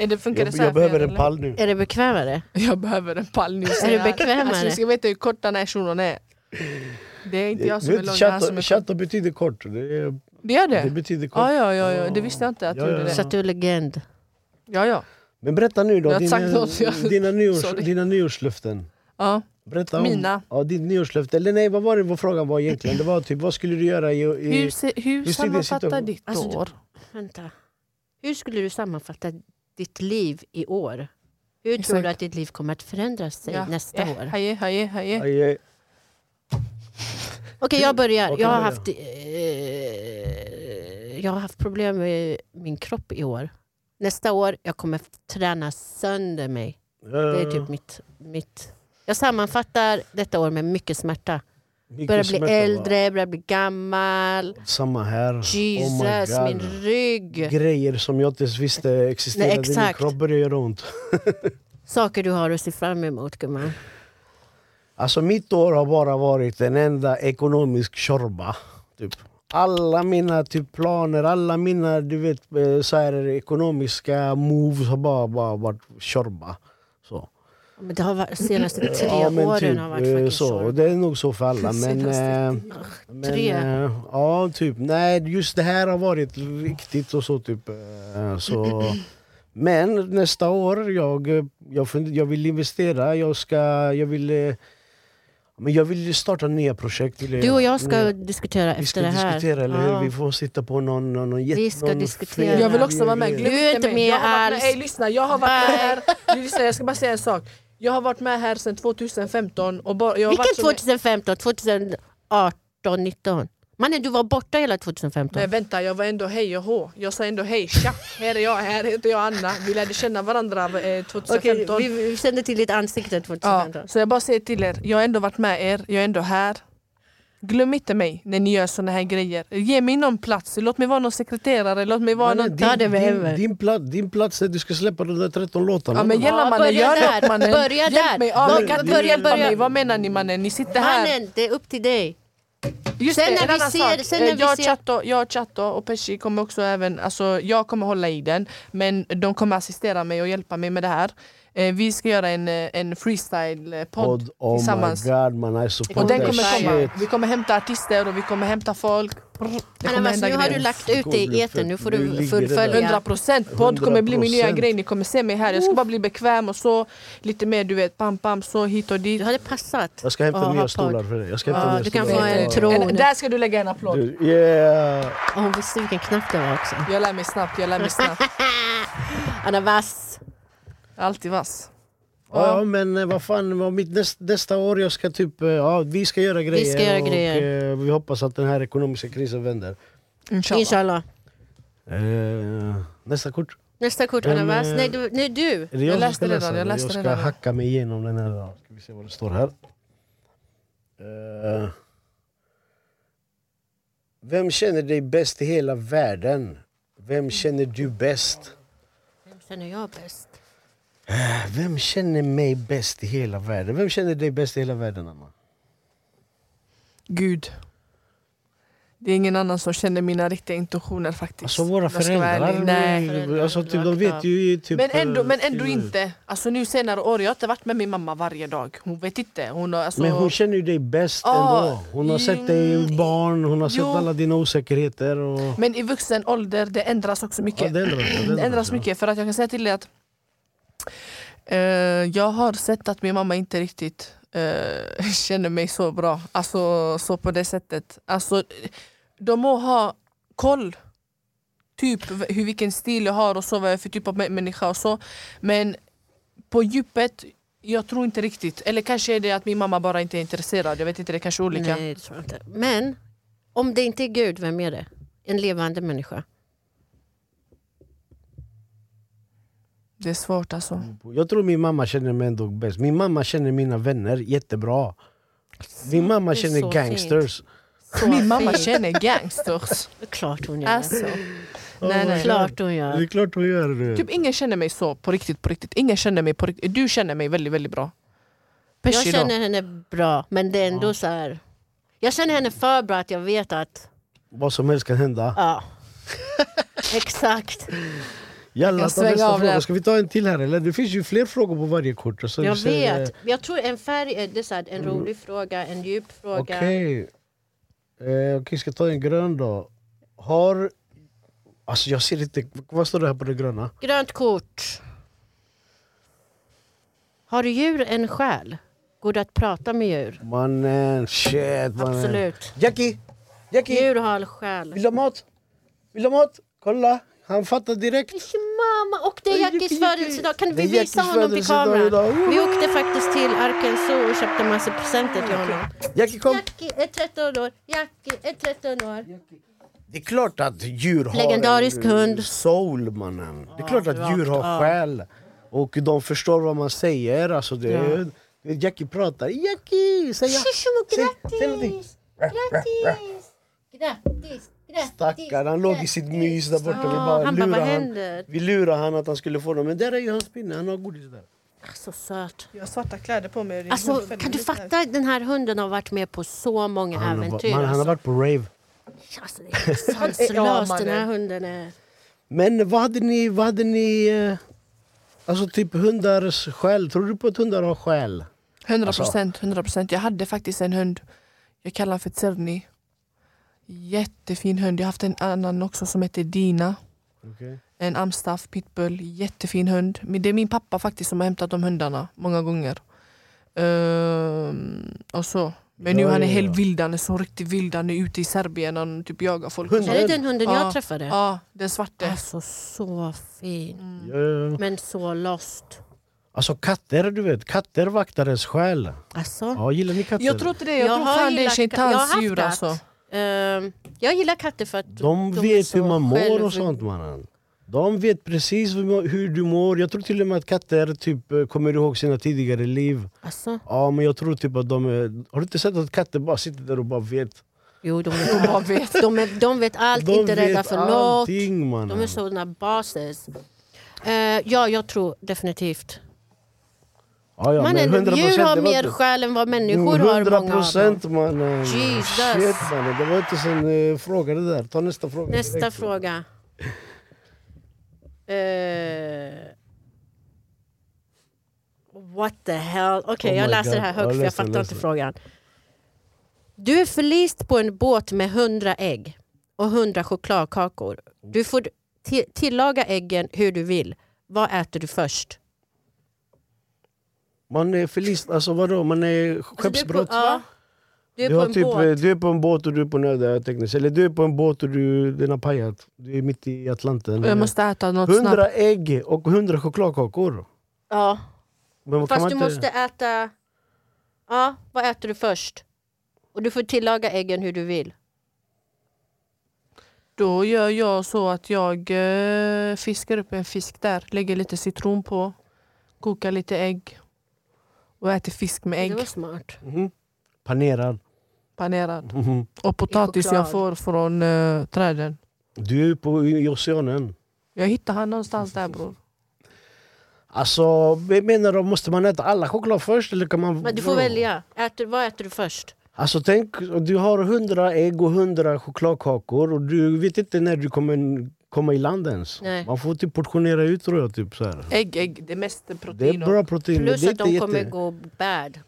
S3: Är det, funkar det
S1: Jag,
S3: så här
S1: jag
S3: för er,
S1: behöver en
S3: eller?
S1: pall nu.
S2: Är det bekvämare?
S3: Jag behöver en pall nu. säger
S2: det
S3: han.
S2: bekvämare?
S3: Alltså, ni ska veta hur kort den här shunon är. Det är inte jag som är lång, det är han som
S1: Chatta,
S3: är kort.
S1: chatta betyder kort. Det, är,
S3: Det gör
S1: det
S3: det?
S1: betyder kort.
S3: Ja, ja, ja, ja, det visste jag inte att du
S1: Ja, ja,
S3: gjorde
S1: ja.
S2: Så
S3: det.
S2: att du är legend.
S3: Ja, ja.
S1: Men berätta nu då,
S3: Jag har
S1: dina,
S3: sagt något, jag-
S1: dina,
S3: Sorry.
S1: nyårs, dina nyårslöften.
S3: ja.
S1: Berätta om,
S3: Mina.
S1: Ja, ditt nyårslöfte. Eller nej, vad var det vår fråga var egentligen? Det var typ, vad skulle du göra i... i
S3: Hur, se, hur
S1: Hur ser det
S3: sammanfattar
S1: situation-
S3: ditt
S2: Alltså, du-
S3: år?
S2: Vänta. Hur skulle du sammanfatta ditt liv i år? Hur tror
S3: Exakt.
S2: du att ditt liv kommer att förändras sig
S3: Ja,
S2: nästa
S3: ja,
S2: år? Okej,
S3: Haje, haje, haje.
S1: Aj, aj.
S2: jag börjar.
S1: Okej,
S2: jag, har
S1: börja.
S2: haft, eh, jag har haft problem med min kropp i år. Nästa år jag kommer f- träna sönder mig. Det
S1: eh,
S2: är typ mitt... mitt. Jag sammanfattar detta år med mycket smärta.
S1: Mycket
S2: Börjar bli
S1: smärta, va?
S2: äldre, börjar bli gammal.
S1: Samma här. oh my
S2: Jesus,
S1: God.
S2: min rygg.
S1: Grejer som jag inte ens visste existerade
S2: Nej,
S1: i min
S2: exakt.
S1: kropp börjar göra ont.
S2: Saker du har att se fram emot gumman.
S1: Alltså mitt år har bara varit en enda ekonomisk tjorba. Typ. Alla mina typ, planer, alla mina du vet, eh, så här, ekonomiska moves har bara, bara varit tjorba. Så.
S2: Men det har varit, senaste tre
S1: Ja, men
S2: åren
S1: typ,
S2: har varit
S1: eh,
S2: fucking
S1: så.
S2: så.
S1: Och Det är nog så för alla. Men, eh, men,
S2: Tre.
S1: eh, ja, typ. Nej, just det här har varit riktigt och så. typ. eh, Så. Men nästa år, jag, eh, jag, fund- jag vill investera. Jag, ska, jag, vill, eh, men jag vill starta nya projekt. Vill
S2: Du och jag ska
S1: nya-
S2: diskutera
S1: Mm. vi ska
S2: efter det här.
S1: diskutera, eller hur?
S2: Ja.
S1: Vi får sitta på någon, någon, någon
S2: Vi ska
S1: någon
S2: diskutera.
S1: fel-
S3: Jag vill också vara med.
S1: grej.
S3: Glöm
S2: Du är inte
S3: mig. Jag
S2: med
S3: har varit
S2: alls.
S3: Med. Ey, lyssna, jag har varit med här. Du, lyssna, jag ska bara säga en sak. Jag har varit med här sedan 2015. Och bara, jag har varit
S2: Vilken
S3: som-
S2: 2015? 2018, 19? Mannen du var borta hela 2015.
S3: Nej vänta, jag var ändå hej och hå. Jag sa ändå hej, tja, här är jag, här heter jag Anna. Vi lärde känna varandra eh,
S2: Okej,
S3: 2015.
S2: vi, vi kände till ditt ansikte 2015.
S3: ja, så jag bara säger till er, jag har ändå varit med er, jag är ändå här. Glöm inte mig när ni gör såna här grejer. Ge mig någon plats, låt mig vara någon sekreterare, låt mig vara
S1: Men
S3: någon...
S2: Ta det med
S1: din,
S2: över.
S1: din, din, plats, din plats är att du ska släppa de där 13 låtarna.
S3: Ja men
S2: Ja,
S3: gälla mannen,
S2: börja
S3: gör
S2: där,
S3: något mannen.
S2: börja
S3: Hjälp
S2: där.
S3: mig, ja,
S2: Börja-
S3: ni kan inte
S2: börja-
S3: hjälpa
S2: börja.
S3: mig. Vad menar ni mannen? Ni sitter här.
S2: Mannen, det är upp till dig.
S3: Just
S2: Sen
S3: det,
S2: när
S3: en
S2: vi
S3: annan
S2: ser-
S3: sak.
S2: sen när
S3: Eh,
S2: vi
S3: jag,
S2: ser-
S3: Chatto, jag Chatto och Pesci kommer också även, alltså jag kommer hålla i den men de kommer assistera mig och hjälpa mig med det här. Eh, vi ska göra en, eh, en freestyle-podd
S1: Podd, oh
S3: tillsammans.
S1: my god man, I support
S3: Och den
S1: that
S3: kommer komma.
S1: shit.
S3: Vi kommer hämta artister och vi kommer hämta folk. Brr, Det
S2: Anna,
S3: kommer
S2: Mass,
S3: hända
S2: nu har du
S3: grejer.
S2: lagt ut det i etern, nu får
S1: Nu ligger
S2: du
S1: det
S2: fullfölja.
S3: 100 procent, podd kommer bli min nya
S1: 100%.
S3: grej, ni kommer se mig här. Jag ska bara bli bekväm och så lite mer du vet, pam pam, så hit och dit.
S2: Du hade passat.
S1: Jag ska hämta
S2: Aha,
S1: nya
S2: podd.
S1: stolar för dig. Jag ska
S2: Ja,
S1: hämta nya
S2: du kan
S1: stolar.
S2: få en
S1: Ja.
S2: tro-
S3: En, där ska du lägga en applåd.
S1: Du, Yeah!
S2: Och hon visste vilken knapp det var också.
S3: Jag lär mig snabbt, jag lär mig snabbt.
S2: Anna Vass.
S3: Alltid vass.
S1: Ja men eh, vad fan, vad mitt näst, nästa år jag ska typ, eh, ja vi ska göra grejer.
S2: göra
S1: och,
S2: grejer.
S1: eh, vi hoppas att den här ekonomiska krisen vänder.
S3: Inshallah.
S2: Inshallah.
S1: Eh, nästa kort.
S2: Nästa kort
S1: Vem,
S2: Anna Vass.
S1: eh,
S2: Nej, du. Nej, du.
S1: Är det
S3: Jag
S1: som
S3: läste
S1: ska
S3: det
S1: läsa
S3: redan, jag
S1: den?
S3: läste
S1: jag
S3: det
S1: ska
S3: redan.
S1: hacka mig igenom den här. då. Ska vi se vad det står här. Eh, vem känner dig bäst i hela världen? Vem känner du bäst?
S2: Vem känner jag bäst?
S1: Eh, Vem känner mig bäst i hela världen? Vem känner dig bäst i hela världen, Anna?
S3: Gud. Det är ingen annan som känner mina riktiga intentioner faktiskt.
S1: Alltså våra
S3: Jag ska vara
S1: föräldrar,
S3: ärlig. Nej.
S2: Föräldrar,
S1: alltså, typ, de
S2: rakt
S1: vet
S2: av.
S1: ju typ...
S3: Men ändå,
S1: eh,
S3: men ändå
S1: till-
S3: inte. Alltså nu senare år, jag har inte varit med min mamma varje dag. Hon vet inte. Hon har, alltså,
S1: Men hon känner ju dig bäst
S3: Ja,
S1: ändå. Hon har sett dig
S3: mm,
S1: barn, hon har sett
S3: jo.
S1: alla dina osäkerheter. Och...
S3: men i vuxen ålder, det ändras också mycket.
S1: Ja, det ändras, det
S3: det ändras
S1: ja.
S3: mycket. För att jag kan säga till dig att Eh, jag har sett att min mamma inte riktigt eh, känner mig så bra. Alltså så på det sättet. Alltså, de må ha koll. Typ v- hur, vilken stil jag har och så, vad jag är för typ av mä- människa och så. Men på djupet, jag tror inte riktigt. Eller kanske är det att min mamma bara inte är intresserad. Jag vet inte, det är kanske är olika.
S2: Nej, det tror jag inte. Men om det inte är Gud, vem är det? En levande människa.
S3: Det är svårt alltså.
S1: Jag tror min mamma känner mig ändå bäst. Min mamma känner mina vänner jättebra. Min mamma
S2: Det är så
S1: känner gangsters.
S2: Så
S3: Min mamma
S2: fint.
S3: känner gangsters.
S2: Klart hon gör det.
S3: Alltså. Nej, nej.
S2: Klart hon
S1: Det är
S2: gör.
S1: klart hon gör det.
S3: Typ ingen känner mig så på riktigt, på riktigt. Ingen känner mig på riktigt. Du känner mig väldigt, väldigt bra.
S2: Jag
S3: Pesci då.
S2: känner henne bra, men det är ändå så här... Jag känner henne för bra att jag vet att...
S1: Vad som helst kan hända.
S2: Ja. Exakt.
S1: Jalla,
S3: Jag
S1: ta
S3: svänger
S1: nästa
S3: av
S1: fråga.
S3: där.
S1: Ska vi ta en till här eller? Det finns ju fler frågor på varje kort. Så
S2: Jag
S1: vi ser,
S2: vet. Jag tror en färg är det är så här, en rolig fråga, en djup
S1: eh,
S2: fråga.
S1: Okej. Eh, Okej, ska jag ta en grön då? Har... Alltså jag ser inte... Vad står det här på det gröna?
S2: Grönt kort. Har djur en själ? Går det att prata med djur?
S1: Mannen, shit mannen.
S2: Absolut.
S1: Jackie! Jackie!
S2: Djur har en själ.
S1: Vill du ha mat? Vill du ha mat? Kolla! Han fattar direkt.
S2: Mamma, och det är
S1: Oj,
S2: Jackis
S1: Jackie,
S2: födelsedag. Kan
S1: Det
S2: vi
S1: är
S2: visa
S1: Jackies
S2: honom till
S1: födelsedag idag.
S2: kameran? Vi åkte faktiskt till Arkansas och köpte massa presenter till honom.
S1: Jackie kom!
S2: Jackie är 13 år. Jackie är 13 år.
S1: Det är klart att djur har
S2: Legendarisk
S1: en eh,
S2: hund.
S1: soul mannen. Det är klart att djur
S2: rakt
S1: har
S2: av.
S1: själ. Och de förstår vad man säger. Alltså det är,
S2: Ja.
S1: du vet, Jackie pratar. Jackie! Säg, ja. säg, säg någonting.
S2: Grattis! Grattis! Grattis! Grattis!
S1: Stackarn, han låg i sitt mys där borta. Vi
S2: Ja,
S1: bara
S2: han bara,
S1: lurade
S2: vad
S1: han.
S2: händer?
S1: Vi lurade han att han skulle få dem. Men där är ju hans pinne. Han har godis där.
S2: Så söt.
S4: Jag har svarta kläder på mig. och det är
S2: Alltså,
S4: hundfällan
S2: kan du
S4: lite.
S2: fatta? Den här hunden har varit med på så många
S1: Han,
S2: äventyr.
S1: man, han har
S2: alltså.
S1: varit på rave.
S2: Alltså, det är sanslöst. Den här hunden är...
S1: Men vad hade ni... Vad hade ni eh, alltså typ hundars själ. Tror du på att hundar har själ?
S3: 100
S1: Alltså-
S3: procent, 100 procent. Jag hade faktiskt en hund. Jag kallar honom för Tserni. Jättefin hund. Jag har haft en annan också som heter Dina. En amstaff, pitbull, jättefin hund. Men det är min pappa faktiskt som har hämtat de hundarna många gånger. Ehm, och så. Men nu
S1: Ja,
S3: han är
S1: ja, ja.
S3: helt vild, han är så riktigt vild. Han är ute i Serbien och typ jagar folk.
S1: Hund-
S2: Är det den hunden jag
S3: Ja.
S2: träffade?
S3: Ja, den svarte.
S2: Alltså så fin.
S1: Eh,
S2: Men så lost.
S1: Alltså katter, du vet. Katter vaktar ens själ.
S2: Alltså.
S1: Ja, gillar ni katter?
S3: Jag tror inte det, jag, tror fan det är
S2: gillat ka- jag har haft
S3: shintans-djur
S2: katt.
S3: alltså.
S2: Ehm, jag gillar katter för att
S1: De
S2: är
S1: vet
S2: så
S1: hur man mår
S2: själv-
S1: och sånt mannen. De vet precis hur hur du mår. Jag tror till och med att katter typ eh, kommer ihåg sina tidigare liv.
S2: Alltså,
S1: Ja, men jag tror typ att de är... Har du inte sett att katter bara sitter där och bara vet?
S2: jo, de,
S3: De
S2: vet
S3: bara
S2: allt.
S3: vet.
S2: de, är, de vet allt,
S1: De
S2: inte rädda
S1: vet
S2: för något.
S1: allting,
S2: De är
S1: mannen.
S2: sådana bases. Eh, ja, jag tror definitivt.
S1: Ja, ja,
S2: Mannen,
S1: men 100%
S2: djur
S1: det
S2: har
S1: var
S2: mer
S1: inte-
S2: själ än vad människor har. Många av dem.
S1: 100% mannen.
S2: Jesus.
S1: Shit mannen, det var inte sån eh, fråga det där. Ta nästa fråga
S2: Nästa
S1: direkt.
S2: fråga. Eh, what the hell? Okej,
S1: Oh
S2: jag
S1: my
S2: läser det här
S1: God. Ja,
S2: högt för jag
S1: läs den,
S2: fattar
S1: läs
S2: inte
S1: den.
S2: frågan. Du är förlist på en båt med 100 ägg och 100 chokladkakor. Du får ti- tillaga äggen hur du vill. Vad äter du först?
S1: Man är förlist, alltså vadå? Man är skeppsbrott.
S2: Alltså, du är på, ja, du är
S1: Du,
S2: på
S1: har
S2: en
S1: typ,
S2: båt.
S1: eh, du är på en båt och du är på nöd tekniskt. Eller du är på en båt och du, den har pajat. Du är mitt i Atlanten.
S3: Jag måste äta något
S1: 100
S3: snabbt.
S1: ägg och 100 chokladkakor.
S2: ja.
S1: Men kan
S2: Fast
S1: man
S2: du
S1: inte-
S2: måste äta... Ja, vad äter du först? Och du får tillaga äggen hur du vill.
S3: Då gör jag så att jag eh, fiskar upp en fisk där, lägger lite citron på, kokar lite ägg och äter fisk med
S2: Det
S3: ägg,
S2: var smart.
S1: Mhm. Panerad.
S3: panerad.
S1: Mhm.
S3: Och potatis jag
S2: choklad.
S3: får från eh, träden.
S1: Du är på, i oceanen.
S3: Jag hittar han någonstans där bror.
S1: Alltså, jag menar då, måste man äta alla choklad först? Eller kan man,
S2: Men du får
S1: vadå?
S2: välja. Äter, vad äter du först?
S1: Alltså tänk, du har 100 ägg och 100 chokladkakor och du vet inte när du kommer komma i land ens.
S2: Nej.
S1: Man får typ portionera ut tror jag. Typ så här.
S3: Ägg, ägg, det är mest protein.
S1: Det är
S3: och-
S1: bra protein. men
S2: Plus
S1: det är
S2: att
S1: inte
S2: de kommer
S1: jätte...
S2: gå bad,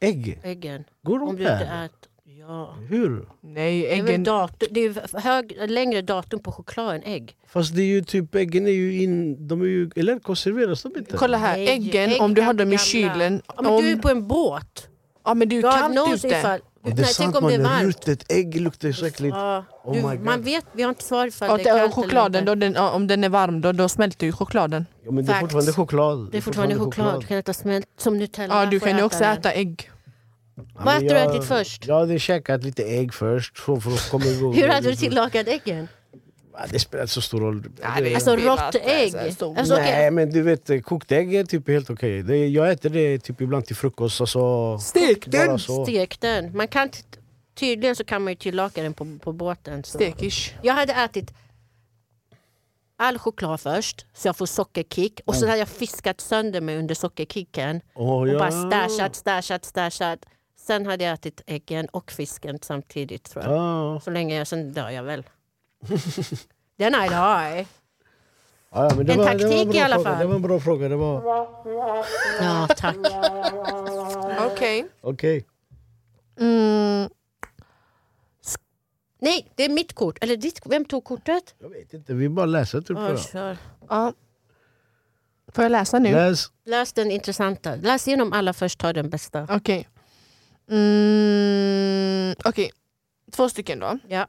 S1: Ägg?
S2: äggen.
S1: Går de
S2: Om du
S1: där?
S2: inte äter. Ja. Ja.
S1: Hur?
S3: Nej,
S2: Det är, väl
S3: äggen...
S2: datum, det är ju hög, längre datum på choklad än ägg.
S1: Fast det är ju typ, äggen är ju in... De är ju, eller konserveras de inte?
S3: Kolla här,
S2: Nej,
S3: äggen
S2: ägg
S3: om du har
S2: kan
S3: dem i
S2: gamla.
S3: kylen.
S2: Ja, men du är
S3: Om,
S2: på en båt.
S3: ja men det är ju
S2: Du har
S3: kallt
S2: något
S3: ute.
S2: ifall... Nej, tänk om det är varmt.
S1: Rutet ägg luktar ju så äckligt.
S2: Ja,
S1: Oh
S2: du,
S1: my God.
S2: man vet, vi har inte svar ifall
S3: Och
S2: det är kallt
S3: chokladen
S2: eller
S3: då,
S2: inte.
S3: den, ja, om den är varm då, då smälter ju chokladen.
S1: Ja, men det är
S2: Facts.
S1: fortfarande choklad.
S2: Det är fortfarande choklad, du kan äta smält som Nutella.
S3: Ja, du
S2: får
S3: kan ju
S2: jag
S3: också
S2: den.
S3: äta ägg.
S1: Ja,
S2: Vad
S1: men
S2: äter du
S1: jag-
S2: ätit först?
S1: Jag hade käkat lite ägg först. Så för att komma igång.
S2: Hur hade du tillagat äggen?
S1: Ja, Det spelar inte så stor roll. Det-
S2: Alltså
S3: spelar
S2: rått
S3: inte
S2: ägg?
S3: så här stor-
S2: Alltså, okej.
S1: Nej men du vet, kokt ägg är typ helt okej. Det- Jag äter det typ ibland till frukost. Alltså,
S3: Stek
S1: bara
S3: den!
S1: så.
S2: Stek den. Man kan, t- tydligen så kan man ju tillaga den på, på båten. Så.
S3: Stekish.
S2: Jag hade ätit all choklad först, så jag får sockerkick. Och så hade jag fiskat sönder mig under sockerkicken.
S1: Åh,
S2: Och
S1: ja.
S2: bara stashat, stashat, stashat. Sen hade jag ätit äggen och fisken samtidigt tror jag.
S1: Ja,
S2: Så länge jag, sen dör jag väl. Den I die.
S1: ja, men det
S2: En
S1: var, det var
S2: taktik
S1: bra
S2: i alla
S1: fråga.
S2: fall.
S1: Det var en bra fråga. Det var
S2: Ja, tack.
S3: Okej.
S1: okej.
S3: Mm,
S2: Nej, det är mitt kort. Eller ditt, vem tog kortet?
S1: Jag vet inte, vi bara läser typ.
S2: Ja,
S1: bara.
S2: kör.
S3: ja. Får jag läsa nu?
S1: Läs.
S2: Läs den intressanta. Läs igenom alla först, ta den bästa.
S3: Okej. Mm, Okej, två stycken då.
S2: Ja.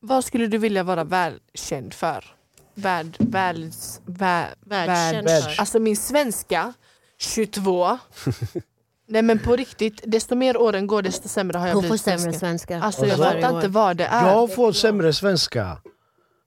S3: Vad skulle du vilja vara välkänd för? Värld, världs, vär,
S2: Världskänd
S1: Världs-
S2: för.
S3: Alltså min svenska, 22. Nej men på riktigt, desto mer åren går desto sämre har jag
S2: Hon får
S3: blivit
S2: sämre
S3: svenska.
S2: svenska.
S3: Alltså jag
S1: Alltså,
S3: fattar inte vad Äh, det är.
S1: Jag får sämre svenska.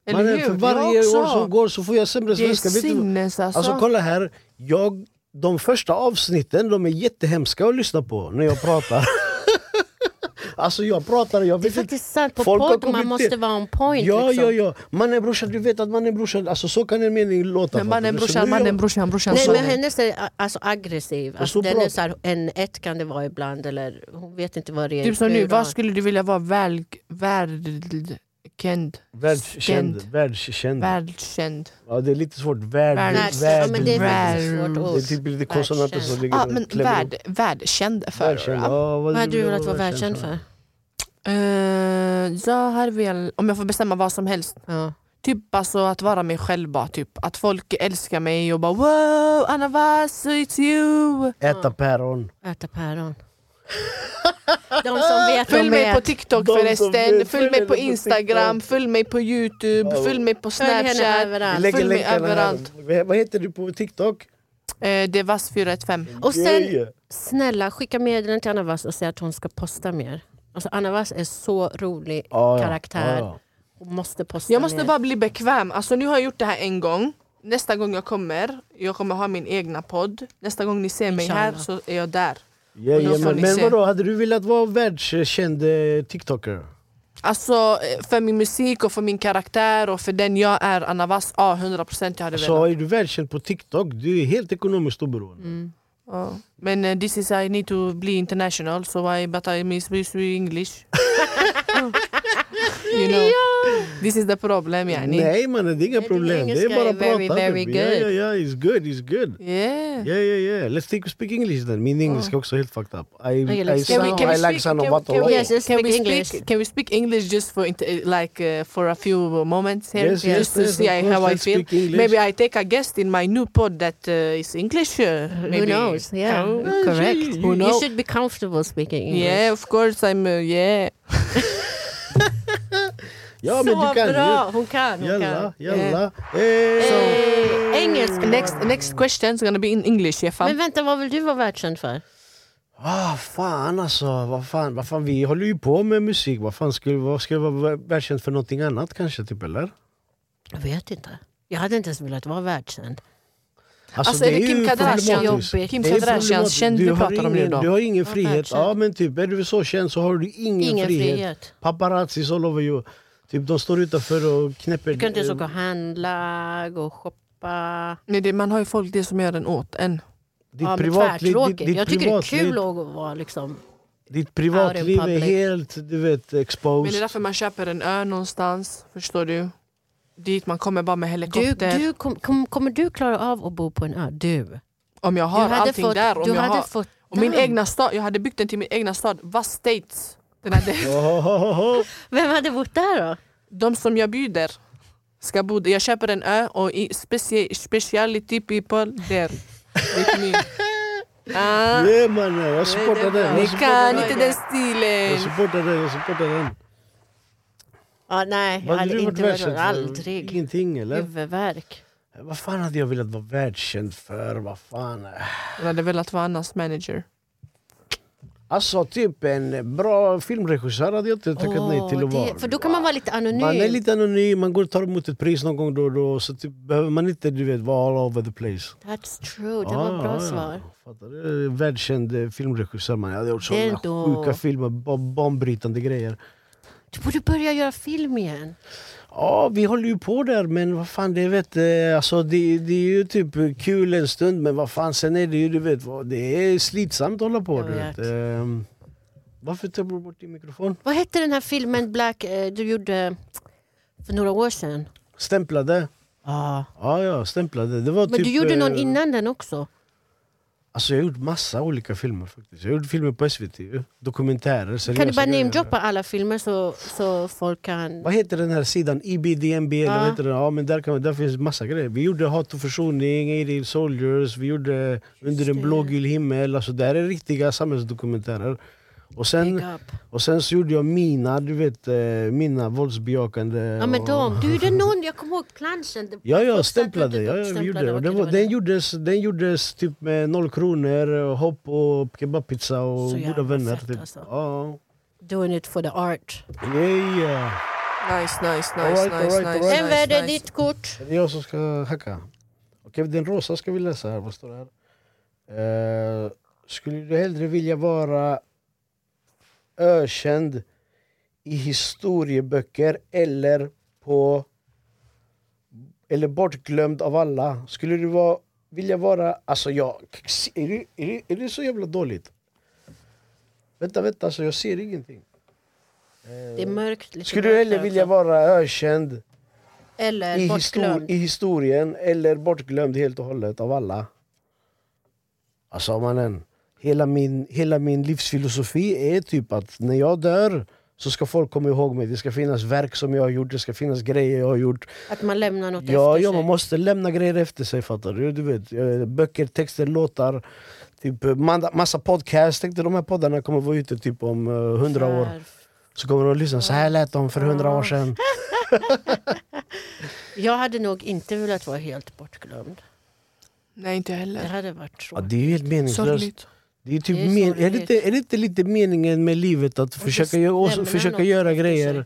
S3: Eller
S1: Mannen,
S3: hur?
S1: För
S3: Jag
S1: varje
S3: också.
S1: år som går så får jag sämre
S3: Det är
S1: svenska. Vet du vad?
S3: sinnes alltså.
S1: Alltså kolla här, jag, de första avsnitten de är jättehemska att lyssna på när jag pratar. alltså jag pratar, jag
S2: Det är
S1: vet inte.
S2: faktiskt sant, på
S1: Folk har
S2: podd
S1: kommit
S2: man måste
S1: till-
S2: vara on point.
S1: Ja,
S2: liksom.
S1: ja, ja. Mannen brorsan, du vet att mannen brorsan, alltså så kan en mening låta.
S3: Men
S1: fattar
S3: mannen,
S1: du? Så
S3: brorsan,
S1: nu är jag-
S3: mannen, brorsan, brorsan.
S2: Nej,
S3: så.
S2: men hennes är a- alltså, aggressiv. Alltså,
S1: så
S2: den
S1: bra-
S2: är så här, en ett kan det vara ibland. Eller, hon vet inte vad det är.
S3: Typ som nu,
S2: Hur
S3: vad
S2: då?
S3: skulle du vilja vara väl, välkänd?
S1: Mm. Världskänd.
S3: Känd.
S1: Världskänd.
S3: Välkänd.
S1: Ja, det är lite svårt. Värld,
S3: Världs-
S2: Världs-
S1: värld,
S2: ja, men det är
S1: värld.
S2: faktiskt ett svårt
S1: Det
S2: ord.
S1: är typ lite konsonanter som
S2: Världskänd.
S1: ligger
S3: Ja,
S1: och
S3: Ah, men
S1: klämmer ihop.
S3: värld, värlkänd för.
S1: Världskänd.
S3: då.
S1: Ja,
S2: Vad hade du velat
S1: vill
S2: vara världskänd för?
S3: Eh, jag hade väl, om jag får bestämma vad som helst.
S2: Ja.
S3: Typ alltså att vara mig själv bara, typ. Att folk älskar mig och bara wow, Anna Vass, it's you!
S1: Äta päron.
S2: Äta päron. De som vet,
S3: Följ
S2: de
S3: mig på
S2: vet.
S3: TikTok
S1: De som
S3: förresten,
S1: vet,
S3: följ
S1: följ
S3: mig på
S1: henne på
S3: Instagram,
S1: TikTok.
S3: följ mig på Youtube,
S1: Ja.
S3: följ mig på
S2: Följ henne
S3: Snapchat.
S1: Vi
S2: överallt.
S1: lägger
S3: Följ mig
S1: länkarna
S3: överallt.
S1: här. Vad heter du på TikTok?
S3: Eh, det är Vass415.
S2: Och sen,
S1: Yeah.
S2: snälla skicka meddelanden till Anna Wass och säg att hon ska posta mer. Alltså, Anna Wass är så rolig
S1: Ja, ja.
S2: karaktär.
S1: Ja, ja.
S2: Hon måste posta
S3: Jag måste
S2: mer.
S3: bara bli bekväm. Alltså nu har jag gjort det här en gång. Nästa gång jag kommer, jag kommer ha min egna podd. Nästa gång ni ser mig här
S2: Inshallah.
S3: så är jag där.
S1: Ja,
S3: Och då
S1: ja,
S3: får
S1: men,
S3: ni
S1: men
S3: se.
S1: vadå, hade du velat vara världskänd eh, TikToker?
S3: Alltså eh, för min musik och för min karaktär och för den jag är, Anna Wass, ja 100% jag hade
S1: Så
S3: velat.
S1: Alltså, är du världskänd på TikTok, du är helt ekonomiskt oberoende.
S3: Ja. Men eh, this is I need to be international so I but I miss miss you English. you know. This is the problem yani.
S1: Nej mannen, det är inga
S2: din
S1: problem. Det är
S2: engelska
S1: bara
S2: är
S1: att
S2: very,
S1: prata.
S2: very
S1: baby. Ja, ja,
S2: good.
S1: ja, it's good, it's good.
S3: Yeah.
S1: Yeah, yeah, yeah. Let's take, speak English then. Min engelska är också helt fucked up. I, I,
S2: gillar- Can
S1: sound,
S2: we-
S1: I like sound of
S3: can,
S1: what
S3: we-
S2: Yes, just
S3: can we
S2: speak English.
S3: speak can we speak English just for inte- like uh, for a few moments here
S1: Yes, yes,
S3: just to
S1: yes,
S3: see
S1: of
S3: I-
S1: course,
S3: how I
S1: let's
S3: feel?
S1: speak English.
S3: Maybe I take a guest in my new pod that uh, is English. Uh,
S2: Who
S3: maybe.
S2: knows? Yeah,
S1: Yeah,
S2: correct.
S1: she-
S3: Who
S2: You
S3: knows?
S2: should be comfortable speaking English.
S3: Yeah, of course I'm uh, yeah.
S1: Ja men du kan ju.
S2: Hon kan.
S1: Jalla, jalla.
S3: Yeah.
S1: Hey.
S2: Eh, engelska.
S3: Next next question is gonna be in English. Yeah,
S2: Men
S3: fam.
S2: vänta, vad vill du vara världskänd för?
S1: Ah, fan alltså, vad fan, vad fan, vi håller ju på med musik. Vad fan skulle, vad skulle vara världskänd för någonting annat kanske, typ, eller?
S2: Jag vet inte. Jag hade inte ens velat vara världskänd.
S3: Alltså, är det Kim Kardashian?
S1: problematiskt.
S2: Jobbigt.
S3: Kim
S1: Det är
S3: Kardashians
S1: problematiskt.
S3: känd
S1: Du
S3: vi
S1: har
S3: pratar om nu
S1: ingen-
S3: då.
S1: Du har ingen frihet.
S2: världskänd.
S1: Ja men typ, är du så känd så har du ingen,
S2: Ingen
S1: frihet.
S2: frihet.
S1: Paparazzi all over you. Typ de står utanför och knäpper... eh,
S2: Du kan inte ens åka och handla, gå och shoppa.
S3: Nej, det, man har ju folk det som gör en åt en.
S1: Ditt
S2: men
S1: privatliv, ditt,
S2: tvärtråkigt.
S1: ditt
S2: Jag tycker det är
S1: privatliv,
S2: kul att vara liksom...
S1: ditt privatliv
S2: out in
S1: är
S2: public.
S1: helt du vet,
S3: Men det är
S1: exposed.
S3: därför man köper en ö någonstans, förstår du? Dit man kommer bara med
S2: Du,
S3: helikopter.
S2: du, kom, kom, kommer du klara av att bo på en ö? Du.
S3: om jag har
S2: du hade
S3: allting
S2: fått,
S3: där. Om
S2: du
S3: jag
S2: hade
S3: har,
S2: fått
S3: Och min
S2: Damn.
S3: egna stad, jag hade byggt den till min egna stad, Vast States. Den hade,
S1: Ohohoho.
S2: Vem hade bott där då?
S3: de som jag bjuder ska bo där. Jag köper en ö och i specie, speciality people där. With me. Ah,
S1: Yeah mannen, jag supportar den.
S3: ni
S1: Jag supportar
S3: kan
S1: den.
S3: inte den
S1: Jag
S3: stilen.
S1: supportar den, jag supportar den.
S2: Ja, nej, jag
S1: Vad hade
S2: hade
S1: du varit
S2: inte varit
S1: världskänd för?
S2: aldrig.
S1: Ingenting eller?
S2: Huvudvärk.
S1: Vad fan hade jag velat vara världskänd för? Vad fan?
S3: Jag hade velat vara Annas manager.
S1: Alltså typ en bra filmregissör hade jag inte tackat nej till att
S2: Åh,
S1: vara.
S2: det- för då kan man vara lite anonym.
S1: Man är lite anonym, man går och tar emot ett pris någon gång då och då. Så typ, behöver man inte du vet, vara all over the place.
S2: That's true, det var
S1: Ah,
S2: ett bra
S1: ja, ja.
S2: svar.
S1: Fattar du? Välkänd eh, filmregissör man. Jag hade gjort
S2: Det är
S1: såna
S2: då-
S1: sjuka filmer, ba- banbrytande grejer.
S2: Du borde börja göra film igen.
S1: Ja, vi håller ju på där men vad fan, det, vet, eh, alltså, det, det är ju typ kul en stund men vad fan, sen är det ju, du vet, vad, det är slitsamt att hålla på.
S2: Jag
S1: Du vet.
S2: vet.
S1: Ehm, varför tar du bort din mikrofon?
S2: Vad hette den här filmen Black eh, du gjorde för några år sedan?
S1: Stämplade.
S2: Ah.
S1: Ja, ja, stämplade. Det var
S2: Men
S1: typ,
S2: du gjorde någon
S1: eh,
S2: innan den också?
S1: Alltså jag har gjort massa olika filmer faktiskt. Jag har gjort filmer på SVT, ju. dokumentärer, seriösa
S2: Kan du bara
S1: grejer.
S2: namedroppa alla filmer så, så folk kan...
S1: Vad heter den här sidan? E IBDNB?
S2: Ja.
S1: Eller vad heter den? Ja, men där, kan, man- där finns massa grejer. Vi gjorde Hat och försoning, 80 Soldiers, vi gjorde Under en
S2: det.
S1: blågul himmel. Alltså, det här är riktiga samhällsdokumentärer. Och sen,
S2: Big up.
S1: och sen så gjorde jag mina, du vet, eh, mina våldsbejakande.
S2: Ja men
S1: och-
S2: de, du gjorde någon, jag kommer ihåg planschen. Det-
S1: Ja, jag
S2: folk satte
S1: stämplade.
S2: typ
S1: Ja, jag
S2: uppstämplade,
S1: gjorde det. Och
S2: vad
S1: den,
S2: kul
S1: var,
S2: det.
S1: den, gjordes, den gjordes typ med noll kronor, och hopp och kebabpizza och
S2: Så
S1: goda
S2: jävla
S1: vänner.
S2: fett,
S1: Typ.
S2: alltså.
S1: Ja.
S2: Doing it for the art.
S1: Yeah.
S3: Nice, nice, nice,
S1: All right,
S3: nice,
S1: all right, all
S3: nice,
S1: right.
S2: Vem
S3: nice,
S2: värde
S3: nice.
S2: ditt kort?
S1: Är det jag som ska hacka? Okej, den rosa ska vi läsa här. Vad står det här? Eh, skulle du hellre vilja vara ökänd i historieböcker eller på eller bortglömd av alla? Skulle du vara, vilja vara... Alltså jag... Är det, är, det, är det så jävla dåligt? Vänta, vänta, alltså jag ser ingenting.
S2: Det är mörkt. Lite
S1: Skulle du
S2: mörkt
S1: hellre
S2: här
S1: vilja
S2: också.
S1: vara ökänd
S2: Eller
S1: i, histor-
S2: Eh, bortglömd.
S1: I historien eller bortglömd helt och hållet av alla. Alltså mannen, hela min, hela min livsfilosofi är typ att när jag dör så ska folk komma ihåg mig. Det ska finnas verk som jag har gjort, det ska finnas grejer jag har gjort.
S2: Att man lämnar något
S1: Ja,
S2: efter
S1: ja
S2: sig.
S1: man måste lämna grejer efter sig fattar du. du vet, eh, böcker, texter, låtar. Typ eh, manda- massa podcasts. Tänkte de här poddarna kommer vara ute typ om hundra år.
S2: För-
S1: Så kommer de att lyssna, så här lät de för hundra
S2: Ah.
S1: år sedan.
S2: Jag hade nog inte velat vara helt bortglömd.
S3: Nej, inte jag
S2: Det
S3: heller.
S2: hade varit så.
S1: Ja, det är ju helt meningslöst.
S3: Sorgligt.
S1: Det är, typ
S2: Det är
S1: men, är,
S2: sorgligt.
S1: det inte, är det inte lite meningen med livet att försöka,
S2: lämna
S1: gö- och,
S2: något
S1: försöka
S2: efter
S1: göra
S2: sig.
S1: grejer?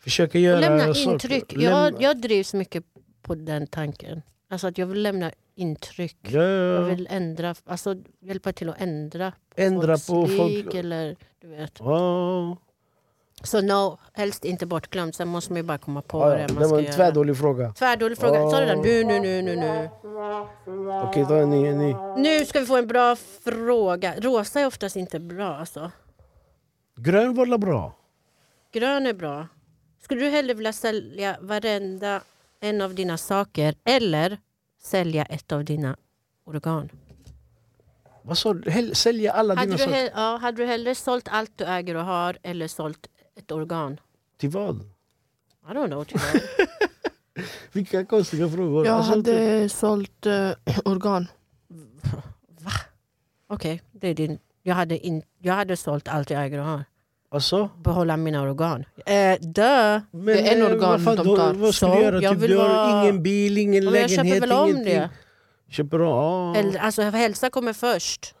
S1: Försöka göra
S2: Och lämna
S1: saker.
S2: intryck.
S1: Lämna-
S2: Jag, jag drivs mycket på den tanken. Alltså att jag vill lämna intryck.
S1: Ja,
S2: Jag
S1: ja, ja.
S2: vill ändra, alltså hjälpa till att ändra
S1: Ändra
S2: folks
S1: på folk.
S2: liv eller du vet.
S1: Ja,
S2: Så no, helst inte bortglömd. Sen måste man ju bara komma på
S1: ja,
S2: vad det
S1: ja.
S2: är
S1: Det
S2: man
S1: var
S2: ska
S1: en
S2: göra.
S1: tvärdålig fråga.
S2: Tvärdålig fråga. Sa du den? Nu, nu, nu, nu, nu.
S1: Okej, ta en ny. En ny.
S2: Nu ska vi få en bra fråga. Rosa är oftast inte bra alltså.
S1: Grön var la bra?
S2: Grön är bra. Skulle du hellre vilja sälja varenda en av dina saker eller sälja ett av dina organ?
S1: Vad sa du? Häll- Sälja alla
S2: Hade
S1: dina
S2: du,
S1: saker?
S2: hell- ja, hade du hellre sålt allt du äger och har eller sålt ett organ?
S1: Till vad?
S2: I don't know. tyvärr.
S1: Vilka konstiga frågor.
S3: Jag
S1: Alltså, typ-
S3: hade sålt eh, organ.
S2: Okej, det är din. Jag hade, in, jag hade sålt allt jag äger och har.
S1: alltså?
S2: Behålla mina organ. Eh, dö!
S1: Men,
S3: Det är en
S1: eh,
S3: organ
S1: vad fan,
S3: de
S1: då-
S3: tar.
S1: Vad ska
S2: Så,
S1: du göra?
S2: jag
S1: Typ,
S2: vill
S1: du har
S2: vara-
S1: ingen bil, ingen
S2: Men jag
S1: lägenhet,
S2: köper väl om
S1: ingenting.
S2: det.
S1: Köper du? Ja.
S2: Eller, alltså, hälsa kommer först.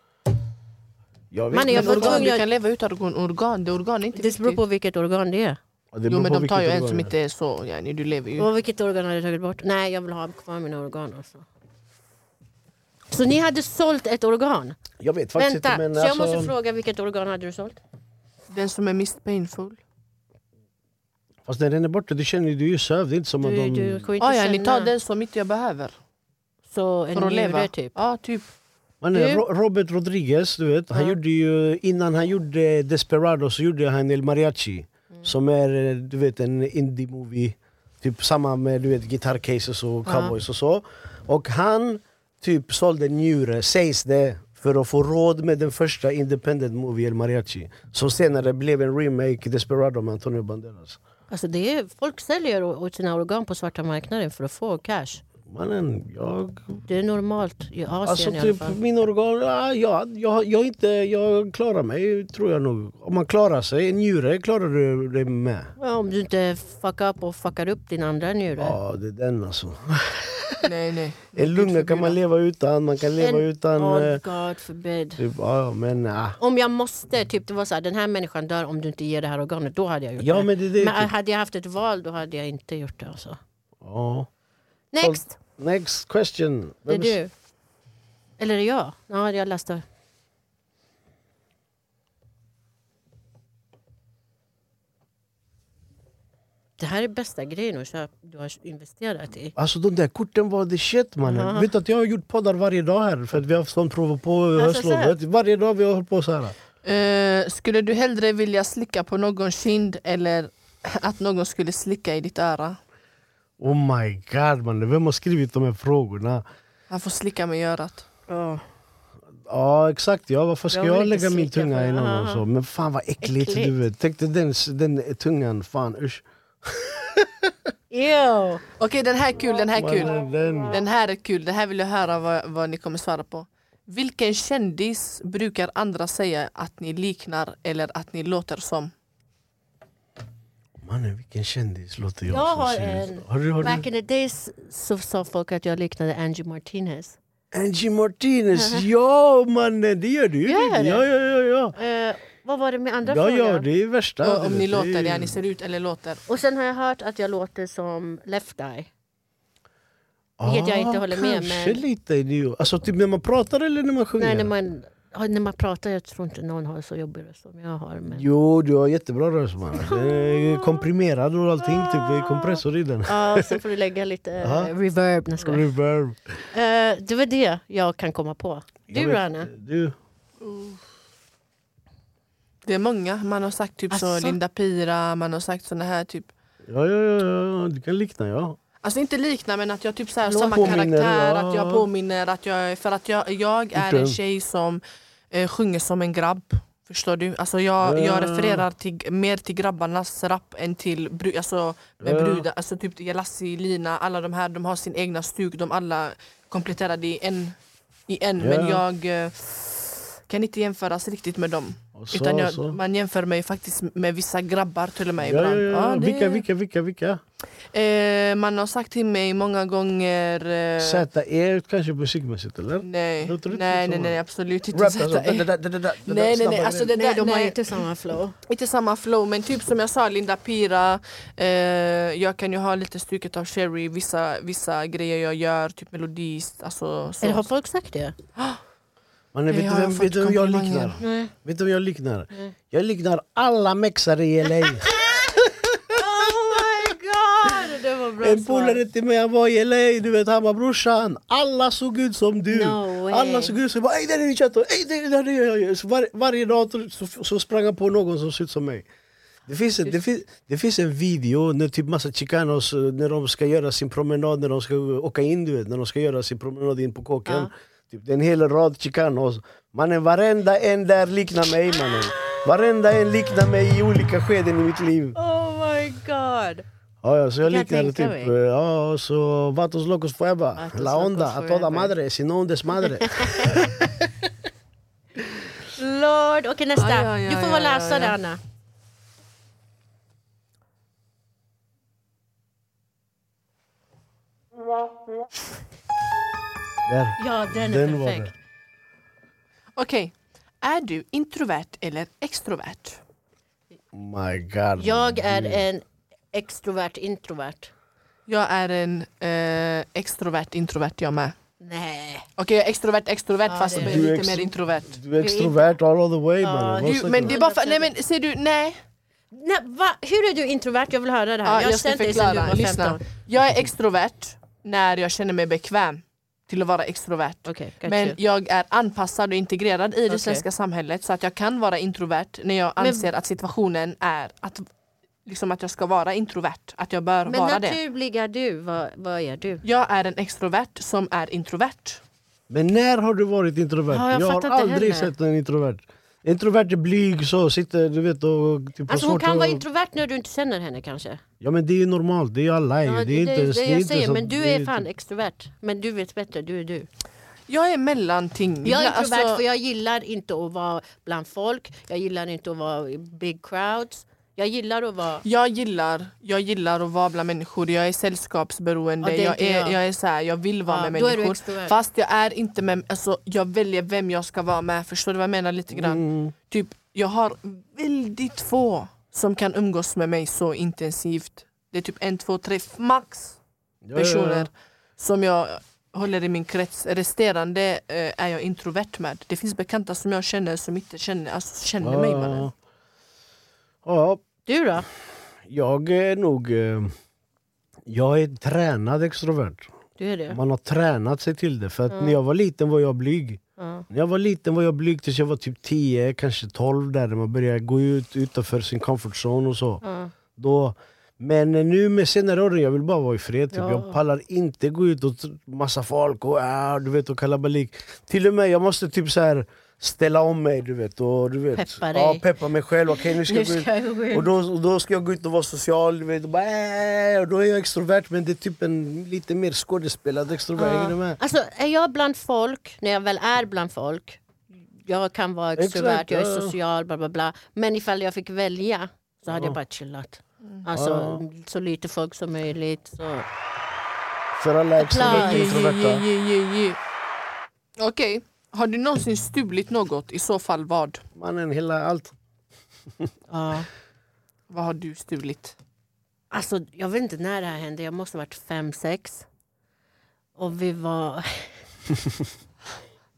S1: Jag vet
S2: Man
S1: inte.
S2: är jag
S3: Men
S2: var
S3: organ,
S2: tvungen-
S3: du kan leva utan organ. organ. Det organ är inte
S2: Det beror
S3: viktigt.
S2: på vilket organ det är.
S1: Ja, det
S3: Jo
S1: beror
S3: men
S1: på
S3: de tar ju
S1: vilket
S3: en
S1: organ
S3: som
S1: det är.
S3: inte är så, yani, du lever ju.
S2: Och vilket organ hade du tagit bort? Nej, jag vill ha kvar mina organ. Alltså. Så ni hade sålt ett organ?
S1: Jag vet faktiskt
S2: Vänta,
S1: inte men
S2: så jag
S1: alltså,
S2: måste fråga vilket organ hade du sålt?
S3: Den som är mist painful.
S1: fast när den är borta, du känner ju- du är ju sövd. Det är inte som att
S2: Du,
S1: de...
S2: du kommer inte
S3: Ah, ja, ni
S2: känna
S3: tar den som inte jag behöver.
S2: så en
S3: För att leva.
S2: njure typ.
S3: Ja, typ.
S1: Man,
S2: du-
S1: Ro- Robert Rodriguez, du vet, han
S2: Ja.
S1: gjorde ju, innan han gjorde Desperado så gjorde han El Mariachi.
S2: Mm.
S1: Som är eh, du vet, en indie-movie. Typ samma med du vet, gitarrcases och
S2: Ja.
S1: cowboys och så. Och han typ sålde njure, sägs det. för att få råd med den första independent movie, El Mariachi. Som senare blev en remake, Desperado med Antonio Banderas.
S2: Alltså det är, folk säljer o- sina organ på svarta marknaden för att få cash.
S1: Mannen, jag...
S2: Det är normalt i Asien
S1: Alltså
S2: i alla
S1: typ
S2: fall.
S1: min organ... ah, Jag, jag, jag, inte, jag klarar mig, tror jag nog. Om man klarar sig, en njure klarar du dig med.
S2: Ja, om du inte fuckar upp och fuckar upp din andra njure.
S1: Ja, det är den alltså.
S3: Nej, nej.
S1: En lungor kan man leva utan, man kan leva
S2: En-
S1: utan...
S2: oh
S1: eh,
S2: God forbid.
S1: Typ, ja, men ah.
S2: Om jag måste, typ det var så här, den här människan dör om du inte ger det här organet, då hade jag gjort
S1: Ja
S2: det.
S1: men det är det.
S2: Men
S1: typ.
S2: hade jag haft ett val då hade jag inte gjort det alltså.
S1: Ja.
S2: Next!
S1: Next question.
S2: Det är
S1: Vems-
S2: du. Eller är det jag? Ja, jag läste. Det här är bästa grejen att köpa, du har investerat i.
S1: Alltså de där korten var the shit mannen.
S2: Ja.
S1: Vet du att jag har gjort poddar varje dag här för att vi har haft sånt prov på höstlovet.
S2: sett.
S1: Varje dag vi har hållit på så här.
S3: Eh, skulle du hellre vilja slicka på någon kind eller att någon skulle slicka i ditt öra?
S1: Oh my god mannen, vem har skrivit de här frågorna?
S3: Han får slicka mig i örat.
S1: Ja exakt, ja, varför ska
S2: Jag
S1: jag,
S2: vill inte
S1: lägga min
S2: slicka
S1: tunga
S2: för-
S1: i någon? Och
S2: Ja.
S1: så? Men fan vad äckligt,
S2: Äckligt.
S1: du vet. Tänk dig den, den tungan, fan usch.
S2: Ew.
S3: Okej, den här är kul, den här är kul.
S1: Mannen, den.
S3: Den här är kul, den här vill jag höra vad, vad ni kommer svara på. Vilken kändis brukar andra säga att ni liknar eller att ni låter som?
S1: Mannen vilken kändis låter jag,
S2: Jag
S1: som
S2: har
S1: ser ut-
S2: en-
S1: Har du, har
S2: Back
S1: du?
S2: in the days så sa folk att jag liknade Angie Martinez.
S1: Angie Martinez, ja mannen det gör du ju.
S2: Gör jag det?
S1: ja, ja, ja, ja.
S2: Eh, vad var det med andra
S1: Ja,
S2: frågan?
S1: ja, det är värsta.
S3: Och om
S1: du
S3: ni
S1: vet, det
S3: låter,
S1: är-
S3: ja, ni ser ut eller låter.
S2: Och sen har jag hört att jag låter som Left Eye. vilket jag inte håller med,
S1: Kanske
S2: men-
S1: lite. nu. Alltså typ när man pratar eller när man sjunger?
S2: Nej, när man, ja, när man pratar, jag tror inte någon har så jobbig röst som jag har. Men...
S1: Jo, du har jättebra röst man. Det är komprimerad och allting. Typ, det är kompressor i den.
S2: Ja, så får du lägga lite
S1: Ja.
S2: eh, reverb. när jag skojar.
S1: Reverb.
S2: Eh, det var det jag kan komma på.
S1: Jag
S2: Du
S1: vet-
S2: Rana?
S1: Du.
S3: Det är många, man har sagt typ så
S1: Alltså?
S2: Asså?
S3: Linda Pira, man har sagt såna här typ
S1: Ja, ja, ja, ja, du kan likna ja.
S3: Alltså inte likna men att jag typ så här,
S1: Låt
S3: samma
S1: påminner,
S3: karaktär,
S1: ja.
S3: att jag påminner, att jag är- för att jag, jag är en
S1: Okej.
S3: tjej som eh, sjunger som en grabb. Förstår du? Alltså jag,
S1: Ja.
S3: jag refererar till, mer till grabbarnas rap än till bru, alltså, med
S1: Ja.
S3: brudar, alltså typ Jalassi, Lina, alla de här de har sin egna stuk, de alla kompletterade i en, i en
S1: Ja.
S3: men jag eh, kan inte jämföras riktigt med dem.
S1: Och så,
S3: Utan jag,
S1: så.
S3: man jämför mig faktiskt med vissa grabbar till och med
S1: Ja, ja,
S3: ibland.
S1: ja.
S3: det-
S1: Vilka, vilka, vilka, vilka?
S3: Eh, man har sagt till mig många gånger... Eh,
S1: Z-E kanske musikmässigt eller?
S3: nej,
S1: Låter det
S3: nej,
S1: inte
S3: nej,
S1: så?
S3: nej, absolut inte
S1: Rap
S3: Z.
S1: alltså. da, da, da, da, da, da, da,
S3: Nej, nej, nej,
S1: snabba
S3: alltså
S1: grejer.
S3: det där, nej,
S2: inte samma flow.
S3: inte samma flow men typ som jag sa, Linda Pira, eh, jag kan ju ha lite stuket av Sherry, vissa, vissa grejer jag gör, typ melodist, alltså så.
S2: Eller har folk sagt det?
S1: Mannen, vet
S3: Jag
S1: du
S3: har
S1: vem,
S3: fått
S1: vet du vem jag
S3: komplimanger. Mm.
S1: liknar?
S2: Nej.
S1: Vet du vem jag liknar? Jag liknar alla mexare i LA.
S2: Oh my god! Det var bra
S1: En polare till mig, han var i LA, du vet han bara brorsan, alla såg ut som du.
S2: No way.
S1: alla såg ut som ey där är din chatt, ey där, där är jag. Så var, varje dag så, så sprang han på någon som såg ut som mig. Det finns, en, det, finns, det finns en video när typ massa chicanos, eh, när de ska göra sin promenad, när de ska åka in du vet, när de ska göra sin promenad in på kåken.
S2: Ja.
S1: Typ, det är en hel rad chicanos. Mannen varenda en där liknar mig mannen. Varenda en liknar mig i olika skeden i mitt liv.
S2: Oh my god!
S1: Ja, ja, så jag
S2: Jag
S1: liknade
S2: tänkte
S1: typ,
S2: mig.
S1: eh, ja, så Vatos Locos Forever,
S2: Vatos
S1: La Onda,
S2: locos
S1: A Toda
S2: forever.
S1: Madre, Sin Ondes Madre.
S2: Lord! Okej nästa.
S3: Ja, ja, ja,
S2: du får
S3: ja,
S2: vara
S3: ja,
S2: läsare
S3: ja.
S2: Anna.
S1: Där,
S2: Ja den är
S1: den var
S2: perfekt.
S1: det.
S3: Okej, är du introvert eller extrovert?
S1: My God.
S2: Jag är
S1: Mm.
S2: en extrovert introvert.
S3: Jag är en eh, extrovert introvert jag med.
S2: Nej.
S3: Okej, jag är extrovert extrovert
S2: Ja,
S3: fast
S2: det är
S3: lite
S1: du. Du är
S3: mer
S1: extro-
S3: introvert.
S1: Du är extrovert all the way
S2: Ja,
S1: mannen. Vad
S3: Du,
S1: snackar
S3: men
S1: du
S3: det är bara för, nej men ser du, nej.
S2: Nej, va? Hur är du introvert? Jag vill höra det här.
S3: Ja,
S2: jag har
S3: jag ska
S2: känt dig sedan du
S3: förklara.
S2: var 15.
S3: Lyssna. Jag är extrovert när jag känner mig bekväm till att vara extrovert.
S2: Okej, gotcha.
S3: Men jag är anpassad och integrerad i det
S2: Okej.
S3: svenska samhället så att jag kan vara introvert när jag
S2: Men-
S3: anser att situationen är att, liksom att jag ska vara introvert. Att jag bör
S2: Men
S3: vara det.
S2: naturliga du, vad, vad är du?
S3: Jag är en extrovert som är introvert.
S1: Men när har du varit introvert?
S2: Ja, jag
S1: jag har
S2: fattar inte
S1: aldrig
S2: heller.
S1: sett en introvert. Introvert är blyg så, sitter du vet och... Typ, har
S2: Alltså hon
S1: svårt att-
S2: kan vara introvert när du inte känner henne kanske.
S1: Ja men det är ju normalt, det är ju alla.
S2: Ja,
S1: ju. det är inte, det
S2: det,
S1: är typ-
S2: jag
S1: inte
S2: säger,
S1: så-
S2: men du
S1: det
S2: är fan extrovert. Men du vet bättre, du är du.
S3: Jag är mellanting.
S2: Jag är
S3: Ibland-
S2: introvert
S3: alltså-
S2: för jag gillar inte att vara bland folk. Jag gillar inte att vara i big crowds. Jag gillar att vara...
S3: Jag gillar, jag gillar att vara bland människor, jag är sällskapsberoende,
S2: Ja, det är
S3: jag,
S2: inte
S3: är,
S2: jag.
S3: jag är så här, jag vill vara
S2: Ja,
S3: med
S2: då är du
S3: människor.
S2: extrovert.
S3: Fast jag är inte med, alltså, jag väljer vem jag ska vara med, förstår du vad jag menar lite grann?
S2: Mm.
S1: Mm.
S3: Typ, jag har väldigt få som kan umgås med mig så intensivt. Det är typ en, två, tre max
S1: Ja, ja, ja.
S3: personer som jag håller i min krets. Resterande eh, är jag introvert med. Det finns bekanta som jag känner som inte känner, alltså, känner mig.
S2: Ah.
S3: mannen.
S1: Ja. ja,
S2: Du då?
S1: jag är nog... eh, Jag är tränad extrovert.
S2: Du är det?
S1: Man har tränat sig till det. För att när jag var liten var jag blyg.
S2: Ja.
S1: När jag var liten var jag blyg tills jag var typ 10, kanske 12 där. när Man började gå ut utanför sin comfort zone och så.
S2: Ja.
S1: Då, men nu med senare åren, jag vill bara vara i fred. Typ.
S2: Ja.
S1: Jag pallar inte gå ut och t- massa folk och ah, du vet och kalabalik. Till och med jag måste typ så här ställa om mig du vet. Och, du vet
S2: Peppa dig.
S1: ja, peppa mig själv. Okej nu ska
S2: Nu
S1: jag gå ut.
S2: ska jag gå
S1: Och
S2: ut.
S1: då, och då ska jag gå ut och vara social, du vet, och, bara, äh, och då är jag extrovert men det är typ en lite mer skådespelad extrovert. Hänger du med?
S2: Alltså är jag bland folk, när jag väl är bland folk. Jag kan vara extrovert,
S1: Exakt,
S2: jag
S1: ja.
S2: är social, bla bla bla. Men ifall jag fick välja så hade jag bara chillat. Alltså så lite folk som möjligt. Så.
S1: För alla extroverta
S2: Applåd.
S1: och
S3: Je, je,
S1: introverta.
S3: je, je, je, je. Okej, har du någonsin stulit något? I så fall vad?
S1: Mannen, hela allt.
S2: Ja.
S3: Vad har du stulit?
S2: Alltså, jag vet inte när det här hände. Jag måste ha varit fem, sex. Och vi var...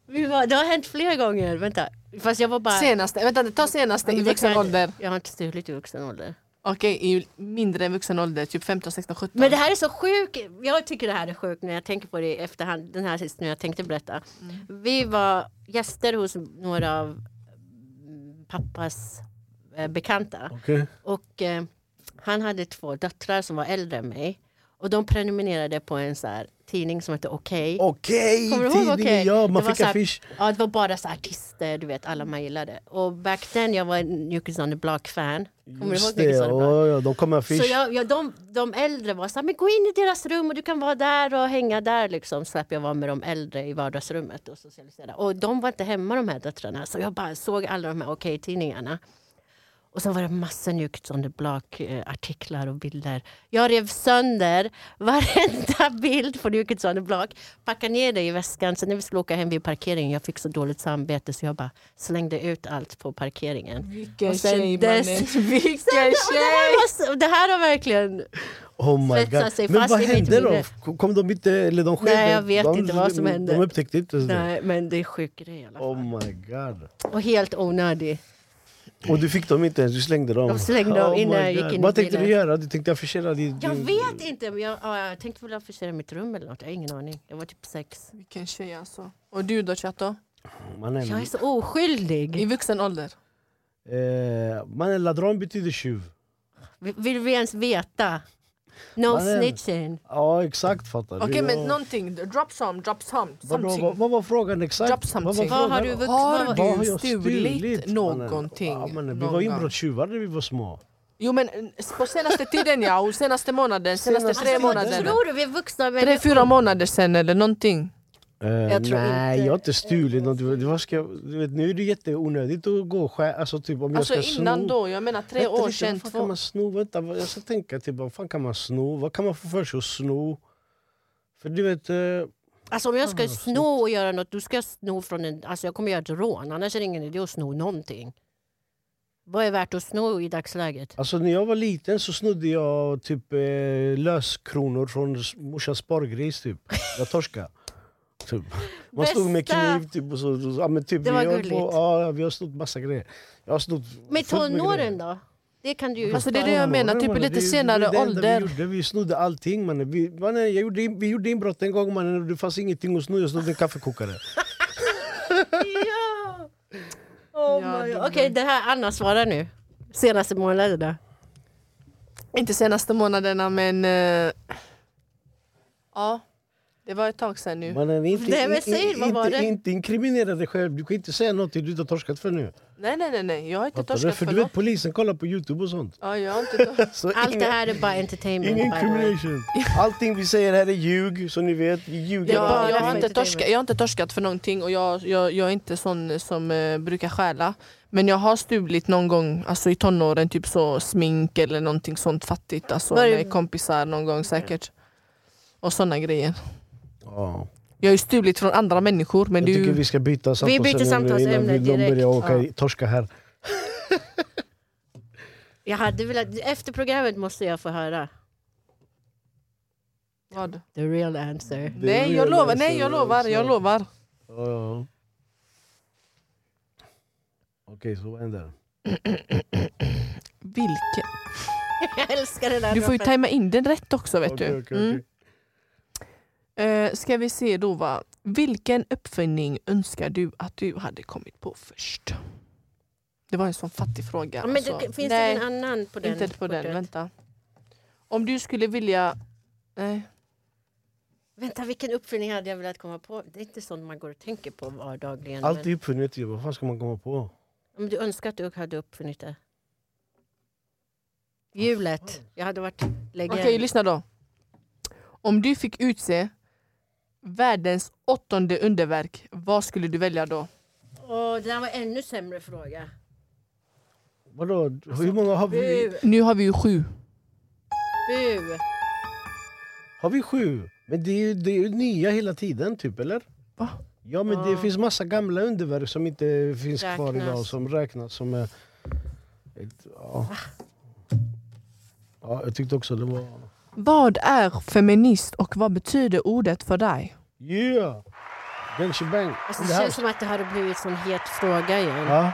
S2: vi var... Det har hänt flera gånger. Vänta. Fast jag var bara...
S3: Senaste, vänta, ta senaste
S2: Ja,
S3: i
S2: men det
S3: vuxen
S2: kan-
S3: ålder.
S2: Jag har inte stulit i vuxen ålder.
S3: Okej, i mindre än vuxen ålder, typ 15, 16, 17.
S2: Men det här är så sjukt. Jag tycker det här är sjukt när jag tänker på det i efterhand. Den här sista jag tänkte berätta. Vi var gäster hos några av mm, pappas eh, bekanta.
S1: Okej.
S2: Och eh, han hade två döttrar som var äldre än mig. Och de prenumererade på en så här, tidning som hette Okej.
S1: Okej,
S2: Kommer du ihåg
S1: tidningen
S2: Okej?
S1: ja,
S2: Det
S1: man
S2: var
S1: fick
S2: så här-
S1: affisch.
S2: Ja, det var bara så här artister, du vet, alla man gillade. Och back then jag var en New Kids on the Block-fan. Kommer du ihåg
S1: Just
S2: New Kids
S1: det,
S2: on the Block?
S1: ja, ja, de kom med
S2: Så
S1: affisch.
S2: jag, jag, de, de äldre var så här, men gå in i deras rum och du kan vara där och hänga där liksom. Slapp jag vara med de äldre i vardagsrummet och socialisera. Och de var inte hemma de här döttrarna. Så jag bara såg alla de här Okej-tidningarna. Och sen var det massor New Kids on the Block eh, artiklar och bilder. Jag rev sönder varenda bild på New Kids on the Block. Packade ner det i väskan. Sen när vi skulle åka hem vid parkeringen, jag fick så dåligt samvete så jag bara slängde ut allt på parkeringen.
S3: Vilken
S2: Och sen
S3: tjej
S2: dess-
S3: mannen.
S2: Det
S3: Vilken tjej!
S2: här, var, så- det här har verkligen
S1: Oh my
S2: svetsar
S1: god.
S2: sig
S1: Men
S2: fast
S1: vad
S2: i mitt
S1: hände då?
S2: minne.
S1: Kom- Kom de inte, eller de skedde?
S2: Nej, jag vet
S1: de,
S2: inte vad som
S1: de,
S2: hände.
S1: De upptäckte inte ens det.
S2: Nej, men det är sjuk grej i alla fall.
S1: Oh my god.
S2: Och helt onödig.
S1: Och du fick dem inte ens, du slängde dem? Oh
S2: Jag slängde dem
S1: my
S2: innan jag gick
S1: God.
S2: in i
S1: Vad tänkte
S2: bilen.
S1: du göra? Du tänkte affischera din...
S2: Jag
S1: din-
S2: vet inte, men jag, ja, jag tänkte väl förstöra mitt rum eller något. Jag har ingen aning. Jag var typ sex.
S3: Vilken tjej alltså. Och du då Chato?
S1: Mannen,
S2: Jag är så oskyldig.
S3: I vuxen ålder?
S1: eh, mannen ladron betyder tjuv.
S2: Vill vi ens veta? No
S1: Vad är det?
S2: snitching.
S1: Ja exakt fattar
S3: Okej
S1: du.
S3: men
S1: Ja.
S3: någonting, drop some, drop some.
S1: Vadå,
S3: Something.
S1: vad, vad var frågan exakt?
S3: Drop something.
S1: var
S2: Vad har
S1: frågan?
S2: du vuxit?
S3: Har
S1: Vad har
S3: du
S1: jag
S3: stulit
S1: mannen?
S3: någonting?
S1: Ja, mannen, vi
S3: någon
S1: var
S3: gång?
S1: inbrottstjuvar när vi var små.
S3: Jo men eh, på senaste tiden ja, och senaste månaden, senaste
S1: Senaste
S3: tre
S1: tiden.
S3: månaderna.
S2: alltså, Tror du vi är vuxna? Men
S3: Tre, fyra månader sen eller någonting.
S1: Eh,
S2: tror
S1: nej,
S2: inte-
S1: jag har inte stulit något. Du, du, vad ska, jag- du vet, nu är det jätteonödigt att gå och skä- alltså, typ, om jag
S3: Alltså
S1: ska
S3: innan
S1: sno.
S3: då, jag menar tre
S1: Vänta
S3: år
S1: lite,
S3: sedan.
S1: Vad fan kan
S3: Två.
S1: man sno? Vänta, vad- jag ska tänka typ, vad fan kan man sno? Vad kan man få för sig att sno? För du vet... Eh,
S2: Alltså om jag ska sno och göra något, då ska jag sno från en... Alltså jag kommer göra ett rån, annars är det ingen idé att sno någonting. Vad är värt att sno i dagsläget?
S1: Alltså när jag var liten så snodde jag typ eh, löskronor från s- morsans spargris typ. Jag torskade. Typ. Man stod med
S2: Bästa.
S1: kniv typ och så. så ja, men typ,
S2: Det var
S1: vi höll
S2: gulligt.
S1: På, ja, vi har snott massa grejer. Jag har snott
S2: Med
S1: fullt med
S2: tonåren
S1: grejer.
S2: då? Det kan du ju...
S3: Alltså, det är det jag menar, typ
S1: Tonåren,
S3: lite
S1: det- det var
S3: senare
S1: det enda
S3: ålder.
S1: Vi, gjorde. vi snodde allting mannen. Vi, mannen jag gjorde, in- vi gjorde inbrott en gång mannen och det fanns ingenting att sno. Jag snodde en kaffekokare.
S2: Ja! Oh
S3: Ja,
S2: my
S3: det
S2: God.
S3: var-
S2: Okej, det här Anna svarar nu. Senaste månaderna.
S3: Inte senaste månaderna men... eh, ja. Det var ett tag sedan nu.
S1: Mannen, inte,
S2: Nej, men säg,
S1: in,
S2: vad var
S1: inte,
S2: det?
S1: inte inkriminera dig själv. Du kan inte säga något du inte har torskat för nu.
S3: Nej nej nej, nej. jag har inte
S1: Fattar du?
S3: torskat
S1: För
S3: för
S1: du vet, polisen kollar på Youtube och sånt.
S3: Ja, jag har inte torskat.
S1: Så
S2: Allt det
S1: inga-
S2: här är bara entertainment.
S1: Ingen
S2: by the way.
S1: incrimination. Allting vi säger här är ljug, så ni vet. Vi ljuger.
S2: Det var-
S3: Jag,
S1: alltid.
S3: jag, har
S2: därför
S3: inte
S2: inte det
S3: torskat, jag har inte torskat för någonting och jag, jag, jag är inte sån som eh, brukar stjäla. Men jag har stulit någon gång alltså i tonåren, typ så smink eller någonting sånt fattigt. Alltså,
S2: Var det-
S3: med kompisar någon gång säkert. Och såna grejer.
S1: Ja.
S3: Jag har ju stulit från andra människor men
S1: Jag
S3: det är
S1: tycker
S3: ju...
S1: vi ska byta samtalsämne
S2: byter
S1: nu
S2: samtalsämne
S1: innan vi de
S2: direkt.
S1: börjar åka
S3: Ja.
S1: i- torska här.
S2: Jag hade velat, efter programmet måste jag få höra.
S3: Vad?
S2: The real answer.
S1: Det
S3: Nej
S1: vill
S3: jag
S1: jag
S3: lovar,
S1: läsa
S3: nej jag
S1: det
S3: lovar,
S1: också.
S3: jag lovar.
S1: Ja, ja. Okej, så vad händer?
S3: Vilken?
S2: Jag älskar det där.
S3: Du får ju
S2: droppet.
S3: tajma in den rätt också vet
S1: Okej,
S3: du.
S1: okej,
S3: Mm.
S1: okej.
S3: Eh, ska vi se då va. Vilken uppfinning önskar du att du hade kommit på först? Det var en sån fattig fråga.
S2: ja, men det,
S3: alltså.
S2: finns
S3: Nej,
S2: det en annan på den?
S3: inte på den.
S2: porträtt?
S3: Vänta. Om du skulle vilja... Nej.
S2: Vänta, vilken uppfinning hade jag velat komma på? Det är inte sånt man går och tänker på vardagligen.
S1: Allt är uppfunnet ju. Vad fan ska man komma på?
S2: Men, om du önskar att du hade uppfunnit det? Hjulet. Jag hade varit
S3: Okej,
S2: legend.
S3: lyssna då. Om du fick utse världens åttonde underverk, vad skulle du välja då?
S2: Åh, det där var ännu sämre fråga.
S1: Vadå? Hur många har vi?
S2: Bu,
S3: Nu har Alltså, vi ju sju.
S2: bu.
S1: Har vi sju? Men det är ju, det är ju nya hela tiden, typ, eller?
S3: Va?
S1: Ja, men det
S2: Ja.
S1: finns massa gamla underverk som inte finns kvar
S2: Räknas.
S1: idag som räknas som... eh, Ett, ja. ja, jag tyckte också det var...
S3: Vad är feminist och vad betyder ordet för dig?
S1: Yeah! Bang shebang!
S2: Alltså,
S1: In
S2: det
S1: the
S2: känns
S1: house!
S2: som att det hade blivit en sån het fråga igen.
S1: Ja.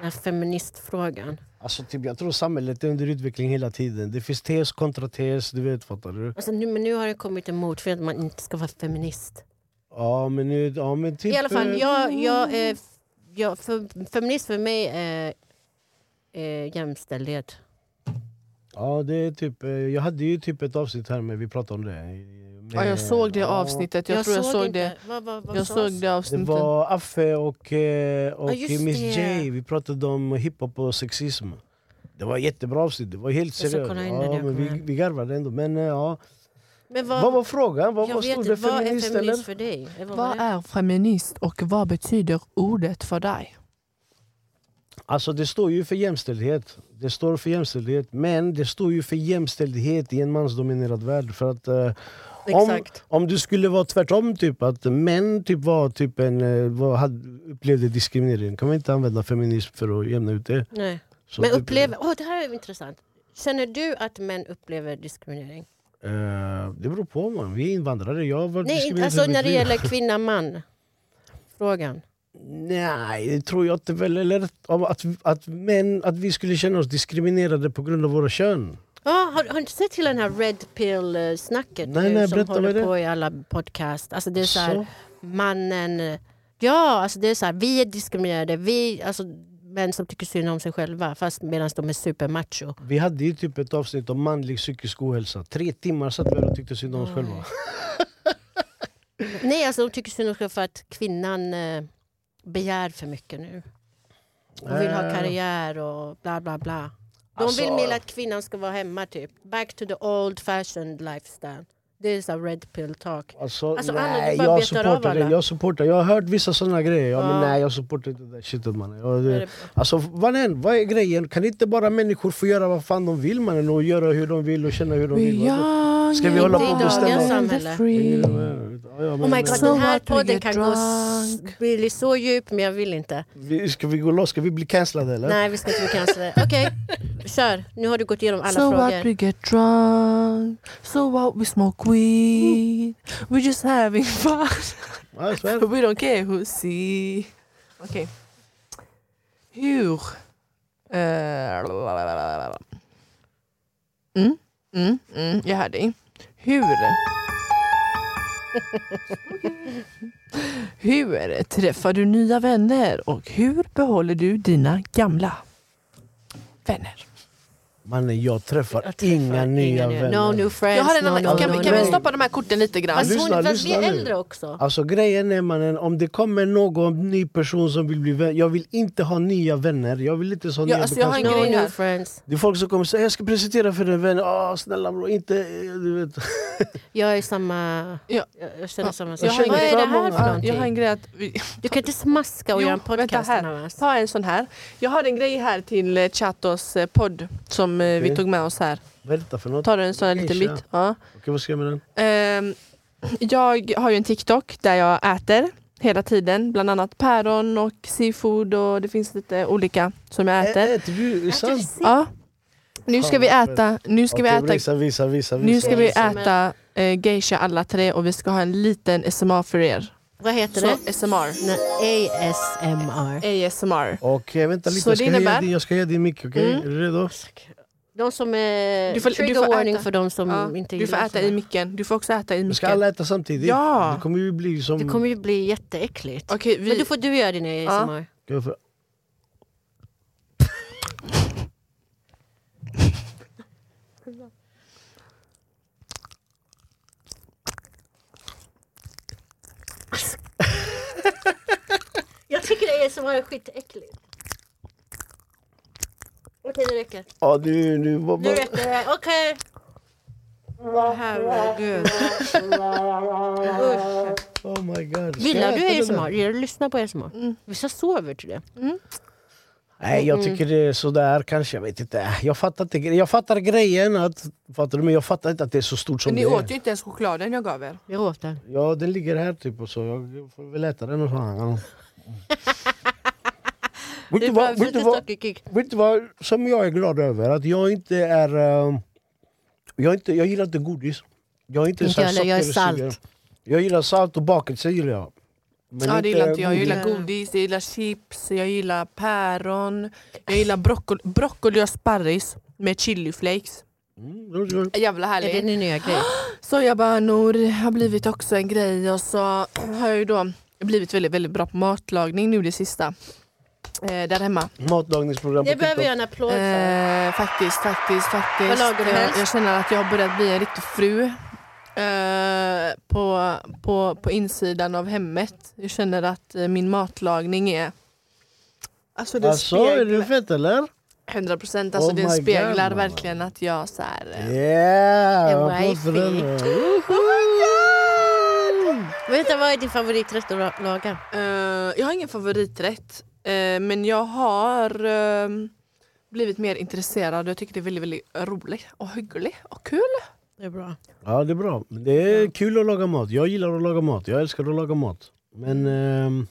S2: Den här feministfrågan.
S1: Alltså, typ, jag tror samhället är under utveckling hela tiden. Det finns tes kontra tes, du vet, fattar du?
S2: Alltså, nu, men nu har det kommit en motfred att man inte ska vara feminist.
S1: Ja, men nu... Ja, men typ,
S2: I alla fall,
S1: eh,
S2: jag, jag, eh, f- jag, för, feminist för mig är eh, jämställdhet.
S1: Ja, det är typ... eh, Jag hade ju typ ett avsnitt här, men vi pratade om det. Med,
S3: Ja, jag såg det
S1: ja,
S3: avsnittet, jag, tror jag såg det.
S2: inte. Vad, vad, vad
S3: Jag såg
S2: sades?
S3: det
S1: Det
S3: avsnittet.
S1: var Affe och, eh, och
S2: Ja, just
S1: Miss
S2: det.
S1: J. Vi pratade om hiphop och sexism. Det var ett jättebra avsnitt. Det var helt
S2: ska
S1: seriöst.
S2: kolla in det när
S1: Ja,
S2: jag
S1: men
S2: kommer
S1: vi,
S2: hem.
S1: vi garvade ändå. Men eh, ja.
S2: Men vad,
S1: Vad var frågan? Vad,
S2: jag
S1: vad
S2: vet
S1: stod
S2: inte,
S1: det?
S2: vad är
S1: Feminist
S2: feminist
S1: eller?
S2: för dig? Eh, Vad var
S3: Vad
S2: det?
S3: är feminist och vad betyder ordet för dig?
S1: Alltså det står ju för jämställdhet. Det står för jämställdhet. Men det står ju för jämställdhet i en mansdominerad värld. För att eh, om,
S2: Exakt.
S1: om du skulle vara tvärtom, typ att män typ var typ en, eh, var, hade, upplevde diskriminering. Kan man inte använda feminism för att jämna ut det?
S2: Nej.
S1: Så
S2: Men
S1: typ-
S2: upplever, åh det här är intressant. Känner du att män upplever diskriminering?
S1: Eh, det beror på. Man. Vi är invandrare. Jag har varit
S2: Nej, inte,
S1: diskriminerad
S2: alltså
S1: i mitt
S2: när det
S1: liv.
S2: gäller kvinna-man. Frågan.
S1: Nej, det tror jag inte. Väl, eller om att, att, män, att vi skulle känna oss diskriminerade på grund av våra kön.
S2: Ja, har, har du inte sett hela den här red pill-snacket
S1: Nej,
S2: nu
S1: nej,
S2: som
S1: berätta, vad är
S2: håller
S1: det?
S2: på i alla podcast? Alltså det är så här, mannen... Ja, alltså det är så här, vi är diskriminerade. Vi, alltså, män som tycker synd om sig själva fast medan de är supermacho.
S1: vi hade ju typ ett avsnitt om manlig psykisk ohälsa. Tre timmar satt vi här och tyckte synd om oss
S2: Mm.
S1: själva.
S2: Nej, alltså de tycker synd om sig själva för att kvinnan eh, begär för mycket nu. Hon vill ha
S1: Eh.
S2: karriär och bla bla bla. De
S1: Alltså-
S2: vill mer att kvinnan ska vara hemma typ. Back to the old fashioned lifestyle. Det är så här red pill talk.
S1: Alltså,
S2: Alltså, alla-
S1: nej,
S2: du bara
S1: jag
S2: betar av
S1: supportar
S2: alla.
S1: det. Jag supportar. Jag har hört vissa sådana grejer. Ja, men
S2: Ja.
S1: nej, jag supportar inte det där shitet mannen. Jag,
S2: Är
S1: det,
S2: det-
S1: alltså, vad, än, vad är grejen? Kan inte bara människor få göra vad fan de vill mannen? Och göra hur de vill och känna hur de vill? Ska vi hålla
S2: på och bestämma?
S1: Ja, ja, men-
S2: Oh my god,
S3: So
S2: den här
S3: what do you
S2: podden
S3: get
S2: kan gå s-
S3: drunk?
S2: bli så djup men jag vill inte.
S1: Vi, ska vi gå loss? Ska vi bli cancellade eller?
S2: Nej, vi ska inte bli cancellade. Okej, kör. Nu har du gått igenom alla
S3: so
S2: frågor.
S3: what we get drunk, so what we smoke weed, we're just having fun,
S1: Ja, så är det.
S3: we don't care who see. Okej. Hur... Uh, eh, Mm, mm, mm, jag hör dig. Hur... Hur träffar du nya vänner och hur behåller du dina gamla vänner?
S1: Mannen jag träffar,
S2: Jag träffar
S1: inga nya vänner.
S2: No new friends,
S3: Jag har en
S2: no,
S3: annan,
S2: no,
S3: kan,
S2: no,
S3: vi- kan vi
S2: no.
S3: stoppa de här korten lite grann?
S2: Fast
S1: Lyssna,
S2: Alltså, hon fast vi
S1: lyssna
S2: är
S1: nu.
S2: äldre också.
S1: Alltså grejen är mannen, om det kommer någon ny person som vill bli vän, jag vill inte ha nya vänner. Jag vill inte så
S3: Ja,
S1: nya
S3: alltså, jag har
S2: No
S1: bekantskaper.
S3: ingen- grej
S2: new
S3: här.
S2: friends.
S1: Det är folk som kommer säga jag ska presentera för en vän, ah, snälla bror inte... eh, Du vet.
S2: Jag är samma...
S3: Ja.
S2: Jag jag känner
S3: Ja.
S2: samma sak.
S3: Jag har en
S2: Vad
S3: grej-
S2: är det här för
S3: Ja, Jag har
S2: någonting?
S3: en grej att vi,
S2: Du kan inte smaska och
S3: Jo,
S2: göra en
S3: vänta
S2: podcast
S3: här.
S2: annars.
S3: Ta en sån här. Jag har en grej här till eh, Chatos eh, podd som eh,
S1: Okej.
S3: vi tog med oss här.
S1: Vad är detta för något?
S3: Tar du en sån här
S1: Okej,
S3: liten
S1: tja.
S3: bit? Ja.
S1: Okej, vad ska jag med den?
S3: Ehm, jag har ju en TikTok där jag äter hela tiden. Bland annat päron och seafood och det finns lite olika som jag äter.
S1: Ä- Äter du? Är det sant?
S3: Ja. Nu ska vi äta, nu ska vi
S1: Okej,
S3: äta,
S1: Visa, visa, visa.
S3: nu ska vi
S2: som en-
S3: äta eh, geisha alla tre och vi ska ha en liten SMR för er.
S2: Vad heter
S3: Så
S2: det?
S3: SMR.
S2: Nej, ASMR. Mm,
S3: ASMR.
S1: Okej, vänta lite.
S3: Så
S1: Jag ska,
S3: det innebär-
S1: höja din, jag ska höja din mick, okej?
S3: Mm.
S1: Är du redo?
S2: De som är...
S3: Du får- du
S2: trigger
S3: får
S2: warning
S3: äta.
S2: för de som
S3: Ja,
S2: inte
S3: Du får
S2: gillar
S3: äta
S2: såna.
S3: i micken. Du får också äta i
S1: Vi ska
S3: micken.
S1: alla äta samtidigt.
S3: Ja.
S1: Det kommer ju bli som...
S2: Det kommer ju bli jätteäckligt.
S3: Mm. Okej, vi...
S2: Men du får du göra din ASMR.
S1: Jag får-
S2: Jag tycker ASMR är skitäckligt. Okej, det räcker.
S1: Ja, du, nu... Vad,
S2: Nu
S1: vad,
S2: räcker det. Okej. Herregud. Usch.
S1: oh my god. Ska
S2: Gillar
S1: jag äta
S2: du
S1: det
S2: ASMR?
S1: där?
S2: Gillar du att lyssna på ASMR? Vissa sover till det.
S1: Nej, jag
S2: Mm.
S1: tycker det är sådär kanske. Jag vet inte. Jag fattar, inte, gre- jag fattar grejen, att, fattar du? men jag fattar inte att det är så stort som
S3: Ni
S1: det är.
S3: åt ju inte ens chokladen jag gav er.
S2: Jag åt den.
S1: Ja, den ligger här typ och så. Jag får väl äta den och så. Ja. Vet
S2: Det
S1: du vad-
S2: behövs
S1: vet du
S2: lite
S1: vad-
S2: sockerkick.
S1: vet du vad som jag är glad över? Att jag inte är... ehm, jag, är inte, jag gillar inte godis. Jag är inte,
S2: Inte
S1: så här
S2: jag heller, jag är
S1: sockersugare.
S2: salt.
S1: Jag gillar salt och bakelse gillar jag. Men
S3: Ja, det gillar inte Mm. jag. Jag
S1: godis.
S3: gillar godis, jag gillar chips, jag gillar päron. Jag gillar broccoli, broccoli och sparris med chiliflakes.
S1: Mm, det är-
S3: Jävla
S2: Är det
S3: härligt.
S2: din nya grej?
S3: Sojabönor har blivit också en grej och så har jag ju då blivit väldigt, väldigt bra på matlagning nu det sista. Eh, där hemma.
S1: Matlagningsprogram på
S2: Det behöver jag
S1: TikTok.
S2: en applåd för.
S3: Eh, faktiskt, faktiskt, faktiskt.
S2: Vad lagar du
S3: jag,
S2: helst?
S3: jag känner att jag har börjat bli en riktig fru. Eh, på, på, på insidan av hemmet. Jag känner att eh, min matlagning är... Alltså det
S1: Alltså, är du
S3: speglar...
S1: fett eller?
S3: 100 procent. Alltså
S1: Oh
S3: den
S1: my God,
S3: speglar
S1: mamma.
S3: verkligen att jag så här, eh,
S1: Yeah!
S2: En
S1: applåd för den.
S2: wifey. Oh Vänta, vad är din favoriträtt att laga?
S3: Eh, jag har ingen favoriträtt. eh, men jag har ehm, blivit mer intresserad och jag tycker det är väldigt, väldigt roligt och hyggligt och kul.
S2: Det är bra.
S1: Ja, det är bra. Det är kul att laga mat. Jag gillar att laga mat. Jag älskar att laga mat. Men ehm,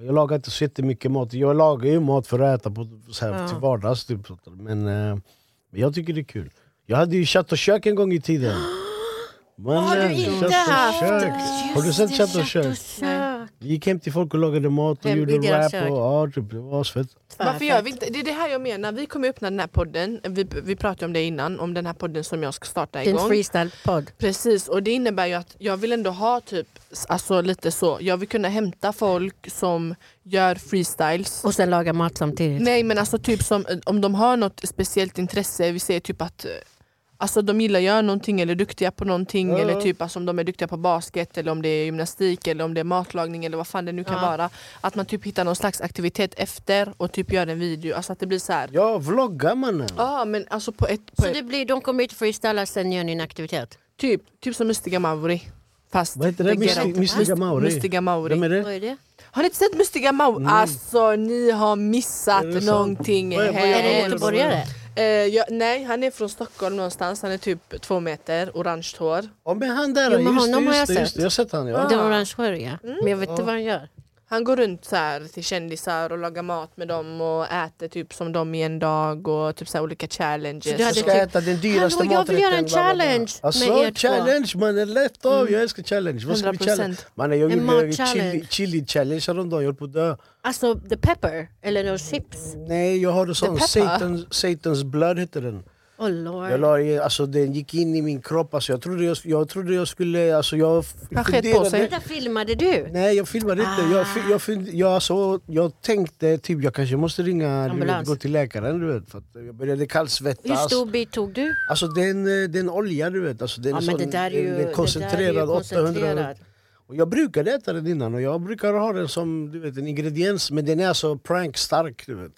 S1: jag lagar inte så jättemycket mat. Jag lagar ju mat för att äta på, så här,
S2: Ja.
S1: till vardags. Typ. Men eh, men jag tycker det är kul. Jag hade ju Chatt och kök en gång i tiden. Men, ehm,
S2: Har du inte haft?
S1: Har du sett Chatt och kök?
S2: kök?
S1: Vi gick hem till folk och lagade mat och
S2: Hem i
S1: gjorde
S2: deras
S1: rap.
S2: kök.
S1: Och, ja, typ, det var asfett.
S3: Varför gör vi inte? Det är det här jag menar. Vi kommer öppna den här podden. Vi, vi pratade om det innan, om den här podden som jag ska starta
S2: Din
S3: igång.
S2: freestyle-podd.
S3: Precis, och det innebär ju att jag vill ändå ha typ, alltså lite så, jag vill kunna hämta folk som gör freestyles.
S2: Och sen laga mat samtidigt.
S3: Nej men alltså typ som, om de har något speciellt intresse, vi säger typ att eh, Alltså de gillar att göra någonting eller är duktiga på någonting
S1: Ja,
S3: eller
S1: ja.
S3: typ alltså, om de är duktiga på basket eller om det är gymnastik eller om det är matlagning eller vad fan det nu kan
S2: Ja.
S3: vara. Att man typ hittar någon slags aktivitet efter och typ gör en video. Alltså att det blir så här.
S1: Ja, vlogga mannen!
S3: Ja men alltså på ett, på
S2: Så
S3: ett
S2: det blir, de kommer hit och freestylar, sen gör ni en aktivitet?
S3: typ, typ som Mystiga Mauri. Fast
S1: Vad heter det?
S3: reagerar
S1: Mysti-
S3: inte.
S1: Mystiga
S3: Myst-
S1: Mauri?
S3: Mystiga Mauri.
S1: Vem är
S2: Vad
S1: det?
S2: är det?
S3: Har ni inte sett Mystiga Mauri? Alltså ni har missat
S1: Är det sant?
S3: någonting.
S1: Vad är- vad är-
S3: här.
S2: Är det
S1: Ja,
S2: göteborgare?
S3: Eh, ja, nej, han är från Stockholm någonstans. Han är typ två meter, orange hår.
S1: Ja, men han där!
S2: Jo, men
S1: just det,
S2: honom har
S1: just
S2: jag
S1: det, just det. Jag har sett han, ja.
S2: Den orangehåriga? Men jag vet inte vad han gör.
S3: Han går runt så här till kändisar och lagar mat med dem och äter typ som dem i en dag och typ så här olika challenges.
S2: Så du hade
S3: och
S1: Jag
S3: så.
S1: ska
S2: typ-
S1: äta den dyraste
S2: Hallå, jag vill göra en
S1: maträtten, bla, bla, bla.
S2: challenge
S1: alltså,
S2: med er två. Mm.
S1: challenge mannen, lätt av! Jag älskar challenge. Vad ska vi
S3: 100%.
S1: challenge? Mannen, jag
S2: En
S1: gjorde
S2: mat-challenge.
S1: chili, chili challenge häromdagen, jag höll på att dö.
S2: Alltså the pepper, eller no chips.
S1: Nej, jag har en sån
S3: peppar.
S1: Satan, Satan's blood heter den.
S2: Oh lord.
S1: Jag la, i- alltså, den gick in i min kropp, alltså, jag, trodde jag, jag trodde jag skulle... Alltså, jag f-
S3: Han sket på
S1: funderade-
S3: sig.
S2: Vänta, filmade du?
S1: Nej, jag filmade inte. Jag, fi- jag, fund- jag, alltså, jag tänkte typ jag kanske måste ringa du vet,
S2: Ambulans.
S1: gå till läkaren. Du vet, för att jag började
S2: Hur
S1: kallsvettas.
S2: stor bit tog du?
S1: Alltså den, den olja du vet, alltså, den
S2: Ja,
S1: är
S2: men
S1: sån,
S2: det där är ju,
S1: den
S2: det där är
S1: är
S2: ju
S1: koncentrerad. 800.
S2: koncentrerad.
S1: Och jag brukade äta den innan och jag brukar ha den som du vet, en ingrediens men den är alltså prankstark. Du vet.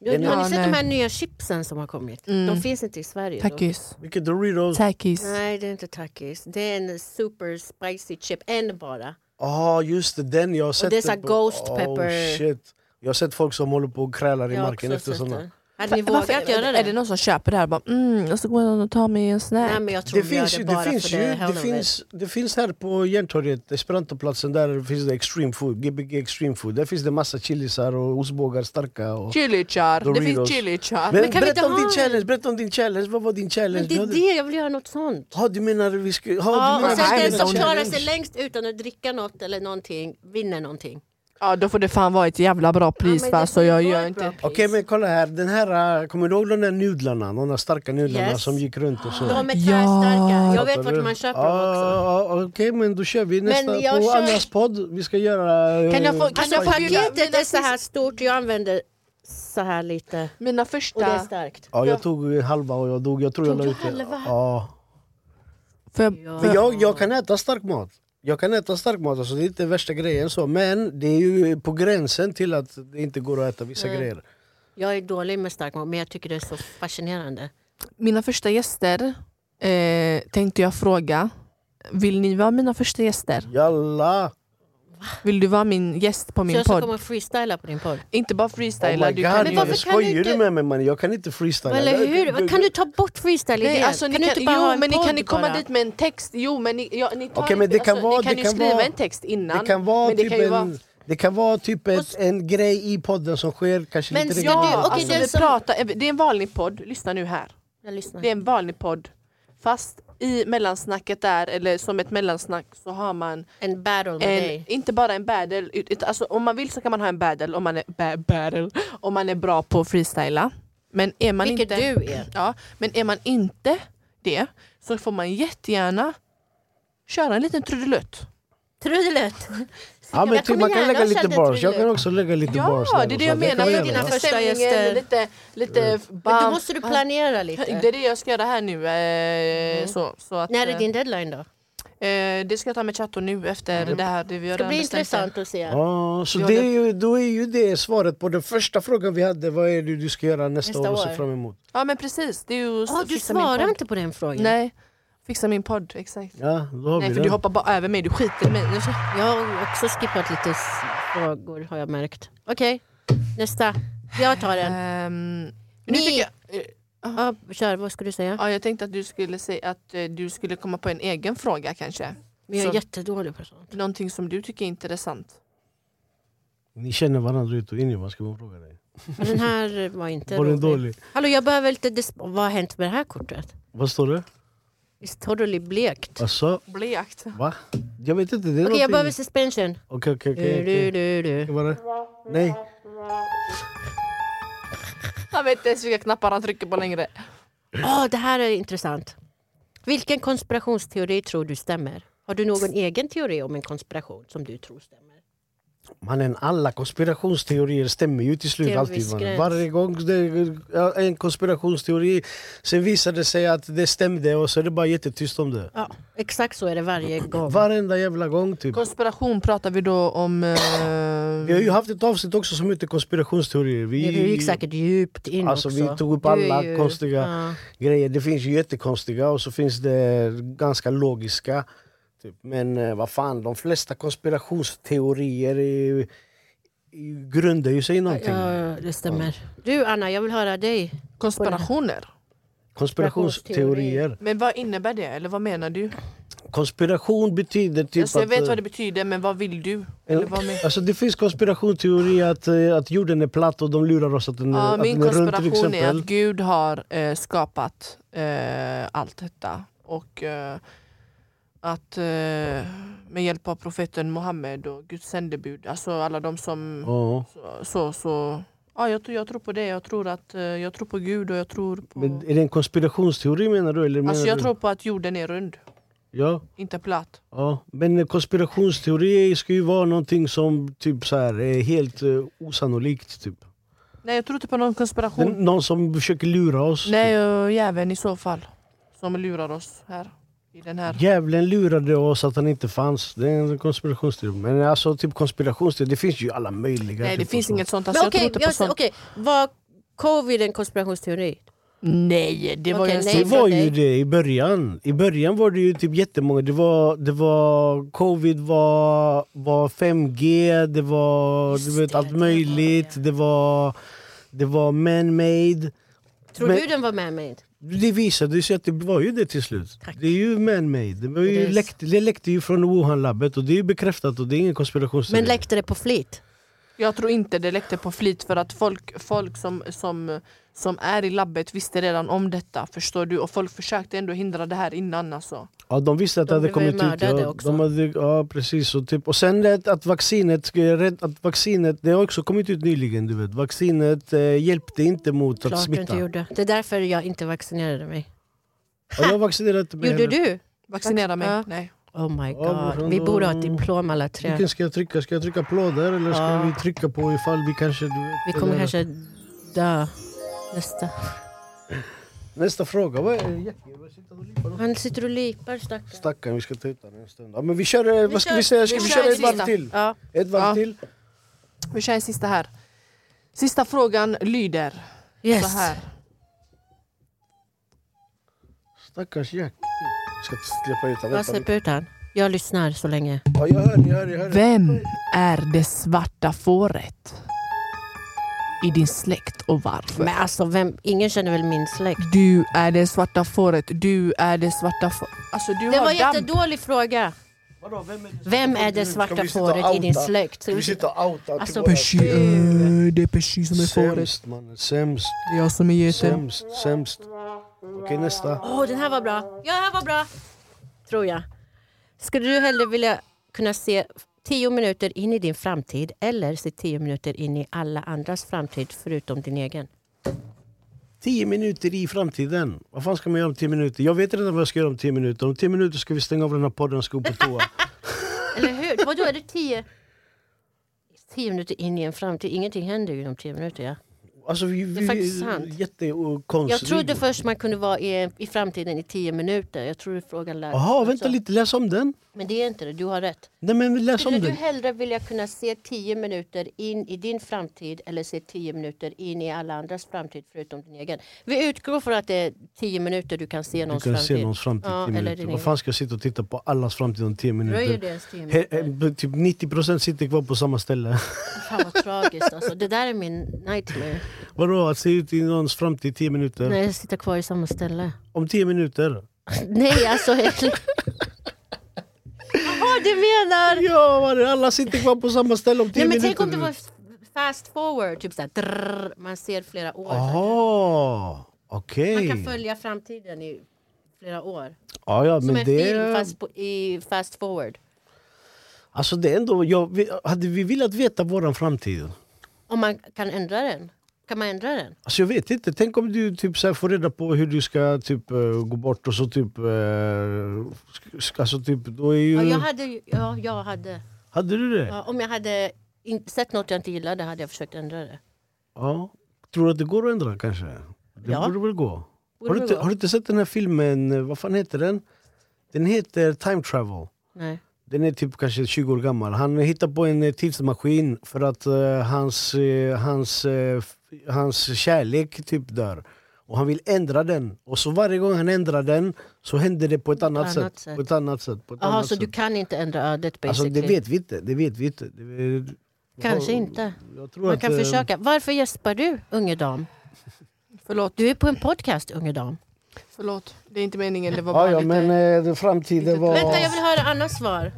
S2: Jo,
S1: Den är-
S2: har ni
S3: Ja,
S2: sett
S3: nej.
S2: de här nya chipsen som har kommit? De finns inte i Sverige. De-
S3: Tackis.
S1: Mycket Doritos.
S3: Tackis.
S2: Nej, det är inte Takis. Det är en super spicy chip. En bara.
S1: Ja Ah, just det, den jag har sett.
S2: det är så här
S1: den på-
S2: ghost
S1: Oh,
S2: pepper.
S1: shit. Jag har sett folk som håller på och krälar i
S2: Jag har
S1: marken
S2: också
S1: efter
S2: sett
S1: sådana.
S2: den. Hade ni
S3: Varför-
S2: vågat göra det?
S3: Är det någon som köper det här och bara mm, jag ska gå och ta mig en snack?
S2: Nej, men jag tror
S1: Det
S2: vi gör
S1: finns, ju-
S2: det
S1: det,
S2: bara
S1: finns ju,
S2: för det.
S1: det,
S2: hell of it.
S1: finns, det finns här på Järntorget, Esperantoplatsen, där finns det extreme food, Gbg extreme food. Där finns det massa chilisar och ostbågar, starka. Och...
S3: Chilichar. Det
S1: Doritos.
S3: finns chilichar.
S1: Men,
S2: kan vi
S1: berätta
S2: inte
S1: om
S2: ha
S1: din
S2: en?
S1: challenge, berätta om din challenge, vad var din challenge?
S2: Men det
S1: Du
S2: är
S1: hade-
S2: det, jag vill göra något sånt.
S1: Ja, du menar vi skulle... Ha,
S2: Ja,
S1: du
S2: och
S1: menar vi
S2: sen
S1: skulle
S2: den
S1: göra
S2: som
S1: en
S2: klarar
S1: challenge.
S2: sig längst utan att dricka något eller någonting vinner någonting.
S3: Ja då får det fan vara ett jävla bra pris
S2: men
S3: va
S2: det
S3: så jag
S2: var
S3: gör
S2: ett bra
S3: inte...
S2: pris.
S1: Okej men kolla här, den här, äh, kommer du ihåg de där nudlarna? De där starka nudlarna
S2: Yes.
S1: som gick runt och så?
S2: De är
S3: Ja.
S2: tvärstarka. Jag vet
S1: Fattar
S2: vart
S1: du?
S2: man köper dem också.
S1: Ja, ja, ah, Okej men då kör vi nästa, på
S2: jag kör-
S1: Annas podd. Vi ska göra... eh,
S3: Kan jag få- kan
S2: Alltså
S3: jag få bjuda-
S2: paketet är så här stort och jag använder så här lite.
S3: Mina
S2: Och det är
S3: första...
S2: starkt.
S1: Ja, jag tog eh, halva och jag dog. Jag tror jag
S2: Tog
S1: la
S2: du
S1: ut det.
S2: halva?
S1: Ja.
S3: Får jag,
S2: Ja.
S3: får
S1: Men
S3: jag,
S1: jag, jag kan äta stark mat. Jag kan äta stark mat, alltså det är inte värsta grejen så. Men det är ju på gränsen till att det inte går att äta vissa grejer.
S2: Jag är dålig med stark mat men jag tycker det är så fascinerande.
S3: mina första gäster eh, tänkte jag fråga. Vill ni vara mina första gäster?
S1: Jalla!
S3: Vill du vara min gäst på
S2: så
S3: min
S2: jag ska
S3: podd?
S2: komma och freestyla på din podd.
S3: Inte bara
S1: Oh
S3: freestyla.
S1: my
S3: du
S1: god,
S3: kan
S2: Men
S3: ju-
S2: varför
S1: jag
S2: kan du
S1: skojar
S2: inte-
S1: du med mig mannen? Jag kan inte freestyla.
S2: Eller
S1: Du-
S2: hur?
S1: du-
S2: Kan du ta bort freestyle
S3: Nej,
S2: idén?
S3: alltså, ni
S2: kan
S3: kan,
S2: du inte bara
S3: jo,
S2: ha en
S3: men ni
S2: podd
S3: kan ju komma
S2: bara?
S3: dit med en text. Jo, men ni, ja, ni, tar
S1: Okej, men
S3: inte- alltså,
S1: det kan vara-
S3: ni kan
S1: det
S3: ju
S1: kan
S3: skriva
S1: vara-
S3: en text innan.
S1: Det kan vara
S3: men det
S1: typ,
S3: kan ju
S1: en,
S3: vara-
S1: det kan vara typ ett, en grej i podden som sker kanske
S2: Men
S1: lite
S2: ska du-
S1: regelbundet.
S2: okej,
S3: alltså,
S2: den
S3: vi
S2: som-
S3: pratar, det är en vanlig podd, lyssna nu här.
S2: Jag lyssnar.
S3: Det är en vanlig podd. Fast i mellansnacket där, eller som ett mellansnack, så har man
S2: En battle med
S3: en,
S2: dig.
S3: inte bara en battle, ut- ut- alltså, om man vill så kan man ha en battle om man är, ba- battle, om man är bra på att freestyla. Men är man
S2: Vilket
S3: inte,
S2: du är.
S3: Ja, men är man inte det så får man jättegärna köra en liten trudelutt.
S2: Trudelutt!
S1: Ja, men
S2: Jag
S1: typ,
S2: kommer
S1: man kan
S2: gärna
S1: lägga
S2: och
S1: lite
S2: känna
S1: bars. Jag
S2: thriller.
S1: kan också lägga lite
S3: Ja,
S1: bars. där
S3: det är
S1: och
S3: det
S1: så.
S3: jag
S1: kan
S3: menar.
S1: man
S2: Det är
S1: göra. Mm.
S2: dina
S3: Lite
S2: första
S3: stämningen,
S2: gäster.
S3: Lite, lite
S2: Men då
S3: bam.
S2: måste du planera lite.
S3: Det är det jag ska göra här nu. Eh, så, så att,
S2: Eh. Mm. När är din deadline då?
S3: Eh, det ska jag ta med Chato nu efter
S1: Mm.
S3: det här. Det, vi har
S2: Det
S3: redan
S2: blir
S3: bestämt
S2: intressant att se.
S1: Ja, så
S3: Vi
S1: det är
S3: håller-
S1: ju, då är ju det svaret på den första frågan vi hade. Vad är det du ska göra nästa,
S2: Nästa
S1: år och se
S2: år.
S1: fram emot?
S3: Ja men precis. Det är ju att
S2: Ah, du
S3: fixa min
S2: svarar
S3: podd.
S2: inte på den frågan.
S3: Nej, fixa min podd. Exakt.
S1: Ja, då har
S3: Nej
S1: vi
S3: för du
S1: den.
S3: hoppar bara över mig, du skiter i mig. Jag ska-
S2: Jag har också skippat lite s- frågor har jag märkt. Okej, nästa. Jag tar den.
S3: Ehm, nu
S2: Ni-
S3: tycker jag, Eh,
S2: Ja, kör, vad ska du säga?
S3: ja, jag tänkte att du skulle säga att eh, du skulle komma på en egen fråga kanske.
S2: Men jag är
S3: Så-
S2: jättedålig på sånt.
S3: Någonting som du tycker är intressant.
S1: Ni känner varandra ut och in i, vad ska man fråga dig?
S2: Men den här var inte
S1: Var den dålig?
S2: Hallå, jag behöver lite... dis- Vad har hänt med det här kortet?
S1: Vad står det?
S2: It's totally blekt.
S1: Alltså,
S3: Blekt.
S1: va? Jag vet inte, det är
S2: Okej, jag behöver
S1: någonting...
S2: suspension.
S1: Okej, okej, okej,
S2: Du, du,
S1: okej.
S2: du, du.
S1: Kan vara det? Nej.
S3: Han vet inte ens vilka knappar han trycker på längre.
S2: Åh, det här är intressant. Vilken konspirationsteori tror du stämmer? Har du någon egen teori om en konspiration som du tror stämmer?
S1: Mannen, alla konspirationsteorier stämmer ju till slut
S2: Till en
S1: alltid.
S2: viss
S1: Man.
S2: gräns.
S1: Varje gång det är en konspirationsteori, sen visar det sig att det stämde och så är det bara jättetyst om det.
S2: Ja, exakt så är det varje gång.
S1: Varenda jävla gång typ.
S3: Konspiration pratar vi då om... eh,
S1: Vi har ju haft ett avsnitt också som heter konspirationsteorier.
S2: Du gick säkert djupt in
S1: Alltså
S2: också.
S1: vi tog upp
S2: Du är
S1: alla
S2: ju-
S1: konstiga
S2: Ja.
S1: grejer. Det finns ju jättekonstiga och så finns det ganska logiska. Typ. Men eh, vad fan, de flesta konspirationsteorier är ju, är ju- grundar ju sig i någonting.
S2: Ja, det stämmer. Du Anna, jag vill höra dig. Alltså,
S3: konspirationer.
S1: Konspirationsteorier.
S3: Men vad innebär det? Eller vad menar du?
S1: Konspiration betyder typ
S3: alltså, jag
S1: att...
S3: vet
S1: eh,
S3: vad det betyder, men vad vill du? Eller
S1: en-
S3: vad men...
S1: Alltså det finns konspirationsteorier att, eh, att jorden är platt och de lurar oss att den, är-
S3: ja,
S1: att
S3: min
S1: den är runt till
S3: konspiration är
S1: exempel.
S3: att Gud har eh, skapat eh, allt detta. Och eh, att eh, med hjälp av profeten Muhammed och Guds sändebud, alltså alla de som...
S1: Ja.
S3: Så, så, så Ja, jag, tror- jag tror på det. Jag tror, att, eh, jag tror på Gud och jag tror på...
S1: Men är det en konspirationsteori menar du? Eller menar
S3: alltså jag
S1: du?
S3: tror på att jorden är rund,
S1: Ja,
S3: inte platt.
S1: ja. Men konspirationsteori ska ju vara någonting som typ så här, är helt eh, osannolikt. Typ.
S3: Nej, jag tror inte på någon konspiration.
S1: Den, någon som försöker lura oss.
S3: Nej, och jäveln i så fall. Som lurar oss här. I den här.
S1: Djävulen lurade oss att han inte fanns. Det är en konspirationsteori. Men alltså typ konspirationsteori, det finns ju alla möjliga.
S3: Nej, det
S1: typer
S3: finns
S1: så.
S3: inget sånt. Alltså, jag
S2: okej,
S3: tror inte på
S2: jag-
S3: sånt.
S2: okej, var covid en konspirationsteori?
S3: Nej, det var
S2: Okej,
S3: ju en
S2: nej.
S1: Det
S3: sån-
S1: var
S2: okej.
S1: ju det i början. I början var det ju typ jättemånga. Det var, det var covid, var, var 5G, det var
S2: Just
S1: du vet,
S2: det,
S1: allt
S2: det var
S1: möjligt. Det var, det var man-made.
S2: Tror
S1: Men-
S2: du den var man-made?
S1: Det visade sig att det var ju det till slut.
S2: Tack.
S1: Det är ju man-made. Det, var
S2: Det
S1: ju
S2: är-
S1: läckte, det läckte ju från Wuhan-labbet och det är ju bekräftat och det är ingen konspirationsteori.
S2: Men läckte det på flit?
S3: Jag tror inte det läckte på flit för att folk, folk som, som, som är i labbet visste redan om detta. Förstår du? Och folk försökte ändå hindra det här innan alltså.
S1: Ja, de visste att
S2: De
S1: det hade
S2: blev ju
S1: kommit ut.
S2: mördade
S1: Ja,
S2: också.
S1: de hade, ja, precis. Och, typ, och sen det, att vaccinet, ska- jag är rädd att vaccinet, det har också kommit ut nyligen. Du vet. Vaccinet eh, hjälpte inte mot att
S2: Klart jag inte
S1: smitta.
S2: gjorde. Det är därför jag inte vaccinerade mig.
S1: Ja, jag vaccinerade mig.
S2: Gjorde du?
S3: Vaccinera mig.
S2: Ja.
S3: Nej.
S2: Oh my
S1: Ja,
S2: god.
S1: brorsan,
S2: Vi
S1: då-
S2: borde ha ett diplom alla tre.
S1: Vilken ska jag trycka? Ska jag trycka på där eller ska
S2: Ja.
S1: vi trycka på ifall vi kanske... Du vet,
S2: Vi kommer
S1: eller-
S2: kanske dö. Nästa.
S1: Nästa fråga. Vad är Jackie? Vad sitter du och lipar nu?
S2: Han sitter och lipar stackarn.
S1: Stackarn, vi ska ta ut den en stund. Ja, men vi kör, eh, vad ska
S2: kör-
S1: vi säga? Ska
S2: vi
S1: vi,
S2: kör
S1: köra ett
S2: en
S1: varv
S2: sista.
S1: till?
S2: Ja.
S1: Ett varv
S3: Ja.
S1: till?
S3: Vi kör en sista här. Sista frågan lyder
S2: Yes.
S3: så här.
S1: Stackars Jackie. Jag ska släppa ut
S2: Jag
S1: honom.
S2: släpper ut han. Jag lyssnar så länge.
S1: Ja, jag hör, jag hör, jag hör.
S3: Vem är det svarta fåret i din släkt och varför?
S2: Men alltså, vem, ingen känner väl min släkt?
S3: Du är det svarta fåret, du är det svarta fåret. Alltså du
S2: Det var
S3: har damp.
S2: jättedålig fråga.
S1: Vadå, vem är det-
S2: Vem är det
S1: Ska
S2: svarta
S1: vi sitta
S2: fåret i din
S1: outa?
S2: släkt? Ska
S1: Ska vi
S2: vi
S1: sitta
S2: sitta-
S1: och outa?
S2: Alltså,
S1: till våra-
S3: Percy, eh, det är Percy som är fåret.
S1: Sämst mannen, sämst,
S3: Det är jag som är geten.
S1: sämst, sämst. Okej nästa.
S2: Åh, den här var bra. Ja, den här var bra. Tror jag. Skulle du hellre vilja kunna se 10 minuter in i din framtid eller se 10 minuter in i alla andras framtid förutom din egen?
S1: Tio minuter i framtiden. Vad fan ska man göra om tio minuter? Jag vet redan vad jag ska göra om tio minuter. Om tio minuter ska vi stänga av den här podden och ska gå på toa.
S2: Eller hur? Vadå, är det 10? 10 minuter in i en framtid. Ingenting händer ju inom 10 minuter. Ja.
S1: Alltså, vi, vi,
S2: Det är faktiskt sant. Jag
S1: Jättekonstigt.
S2: trodde först man kunde vara i, i framtiden i 10 minuter. Jag trodde frågan Alltså. lät
S1: Jaha,
S2: ut
S1: vänta
S2: så.
S1: lite. Läs om den.
S2: Men det är inte det. Du har rätt.
S1: Nej men läs
S2: Skulle
S1: om
S2: du
S1: den.
S2: hellre vilja kunna se 10 minuter in i din framtid eller se 10 minuter in i alla andras framtid förutom din egen? Vi utgår från att det är 10 minuter du kan se
S1: Du
S2: någons
S1: kan
S2: framtid.
S1: se någons framtid
S2: Ja,
S1: i tio
S2: eller
S1: minuter.
S2: din
S1: Vad
S2: egen.
S1: fan ska jag sitta och titta på allas framtid om tio
S2: Röjer det
S1: minuter?
S2: ens 10
S1: He,
S2: minuter?
S1: eh, typ 90% sitter kvar på samma ställe.
S2: Fan vad tragiskt alltså. Det där är min nightmare.
S1: Vadå, att se ut i någons framtid i tio minuter?
S2: När jag sitter kvar i samma ställe.
S1: Om tio minuter?
S2: Nej alltså. eller- Jaha du menar?
S1: Ja, vad är det? alla sitter kvar på samma ställe om tio
S2: Nej, men
S1: minuter.
S2: tänk om det var fast forward. Typ såhär, drrrr, man ser flera år.
S1: Jaha, Ah,
S2: Man
S1: okej.
S2: kan följa framtiden i flera år.
S1: Ja, Ah, ja,
S2: Som
S1: men
S2: en
S1: det...
S2: film fast på, i fast forward.
S1: Alltså det är ändå... Jag, vi- hade vi velat veta våran framtid?
S2: Om man kan ändra den. Kan man ändra den?
S1: Alltså jag vet inte, tänk om du typ så här får reda på hur du ska typ eh, gå bort och så typ... eh, sk- Alltså typ, då är ju...
S2: Ja, jag hade, ju- ja, jag hade.
S1: Hade du det?
S2: Ja, om jag hade in, sett något jag inte gillade hade jag försökt ändra det.
S1: Ja. Tror du att det går att ändra kanske? Det
S2: Ja.
S1: borde väl gå?
S2: Borde
S1: har, du
S2: väl
S1: inte,
S2: gå.
S1: har du inte sett den här filmen, eh, vad fan heter den? Den heter Time Travel.
S2: Nej.
S1: Den är typ kanske 20 år gammal. Han hittar på en eh, tidsmaskin för att eh, hans, eh, hans, eh, f- hans kärlek typ dör. Och han vill ändra den. Och så varje gång han ändrar den så händer det på ett annat,
S2: annat
S1: sätt.
S2: sätt.
S1: På ett annat sätt. På ett
S2: Jaha,
S1: annat
S2: så
S1: sätt.
S2: du kan inte ändra ödet
S1: alltså,
S2: basically?
S1: det vet vi inte. Det vet vi inte. Det-
S2: Kanske
S1: jag-
S2: inte.
S1: Jag tror
S2: Man
S1: att,
S2: kan
S1: eh,
S2: försöka. Varför gäspar du, unge dam?
S3: Förlåt,
S2: Du är på en podcast, unge dam.
S3: förlåt. Det är inte meningen. Det var bara
S1: Ja, ja,
S3: lite...
S1: men eh, det- framtiden
S3: Lite-
S1: var...
S2: Vänta, jag vill höra annat svar.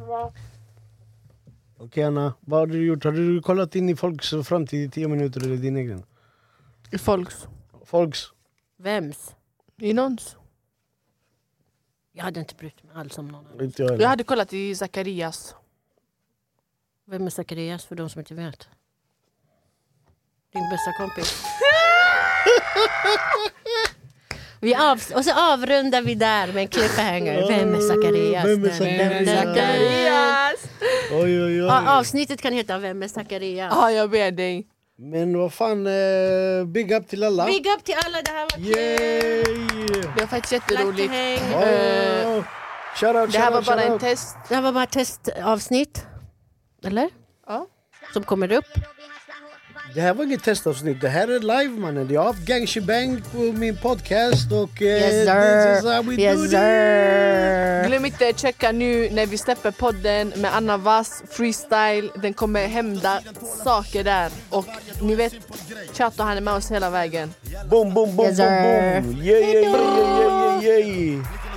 S1: Okej Anna, vad har du gjort? Har du kollat in i folks framtid i tio minuter eller din egen?
S3: Folks.
S1: Folks?
S2: Vems?
S3: I någons.
S2: Jag hade inte brytt mig alls om någon annan.
S1: Inte jag
S3: Jag
S1: heller.
S3: hade kollat i Zacharias.
S2: Vem är Zacharias för de som inte vet? Din bästa kompis. Vi av, och så avrundar vi där med en cliffhanger. Vem är Zacharias?
S1: Vem är
S2: Dun, dun,
S1: Zacharias?
S2: dun, dun.
S3: Zacharias!
S1: Oj, oj, oj.
S2: Ja, Avsnittet kan heta Vem är Zacharias?
S3: Ja, jag ber dig.
S1: Men vad fan, eh, big up till alla.
S2: Big up till alla, det här var
S1: Yay!
S3: Det var faktiskt
S2: kul!
S3: jätteroligt.
S2: Like
S1: Oh.
S3: Eh,
S1: Shoutout,
S3: Det här var
S1: shoutout,
S3: bara en
S1: shoutout.
S3: test.
S2: det här var bara ett testavsnitt. Eller?
S3: Ja.
S2: Som kommer upp.
S1: Det här var inget testavsnitt, det här är live mannen. Jag har haft gang shebang på min podcast och... eh,
S2: Yes
S1: this is how we
S2: sir!
S1: do
S2: Yes
S1: this.
S2: sir!
S3: Glöm inte checka nu när vi släpper podden med Anna Vass freestyle. Den kommer hända saker där. Och ni vet, Chato han är med oss hela vägen.
S1: Boom, boom, boom,
S2: Yes, sir.
S1: boom, boom! Yeah, yeah, yeah, yeah, yeah, yeah!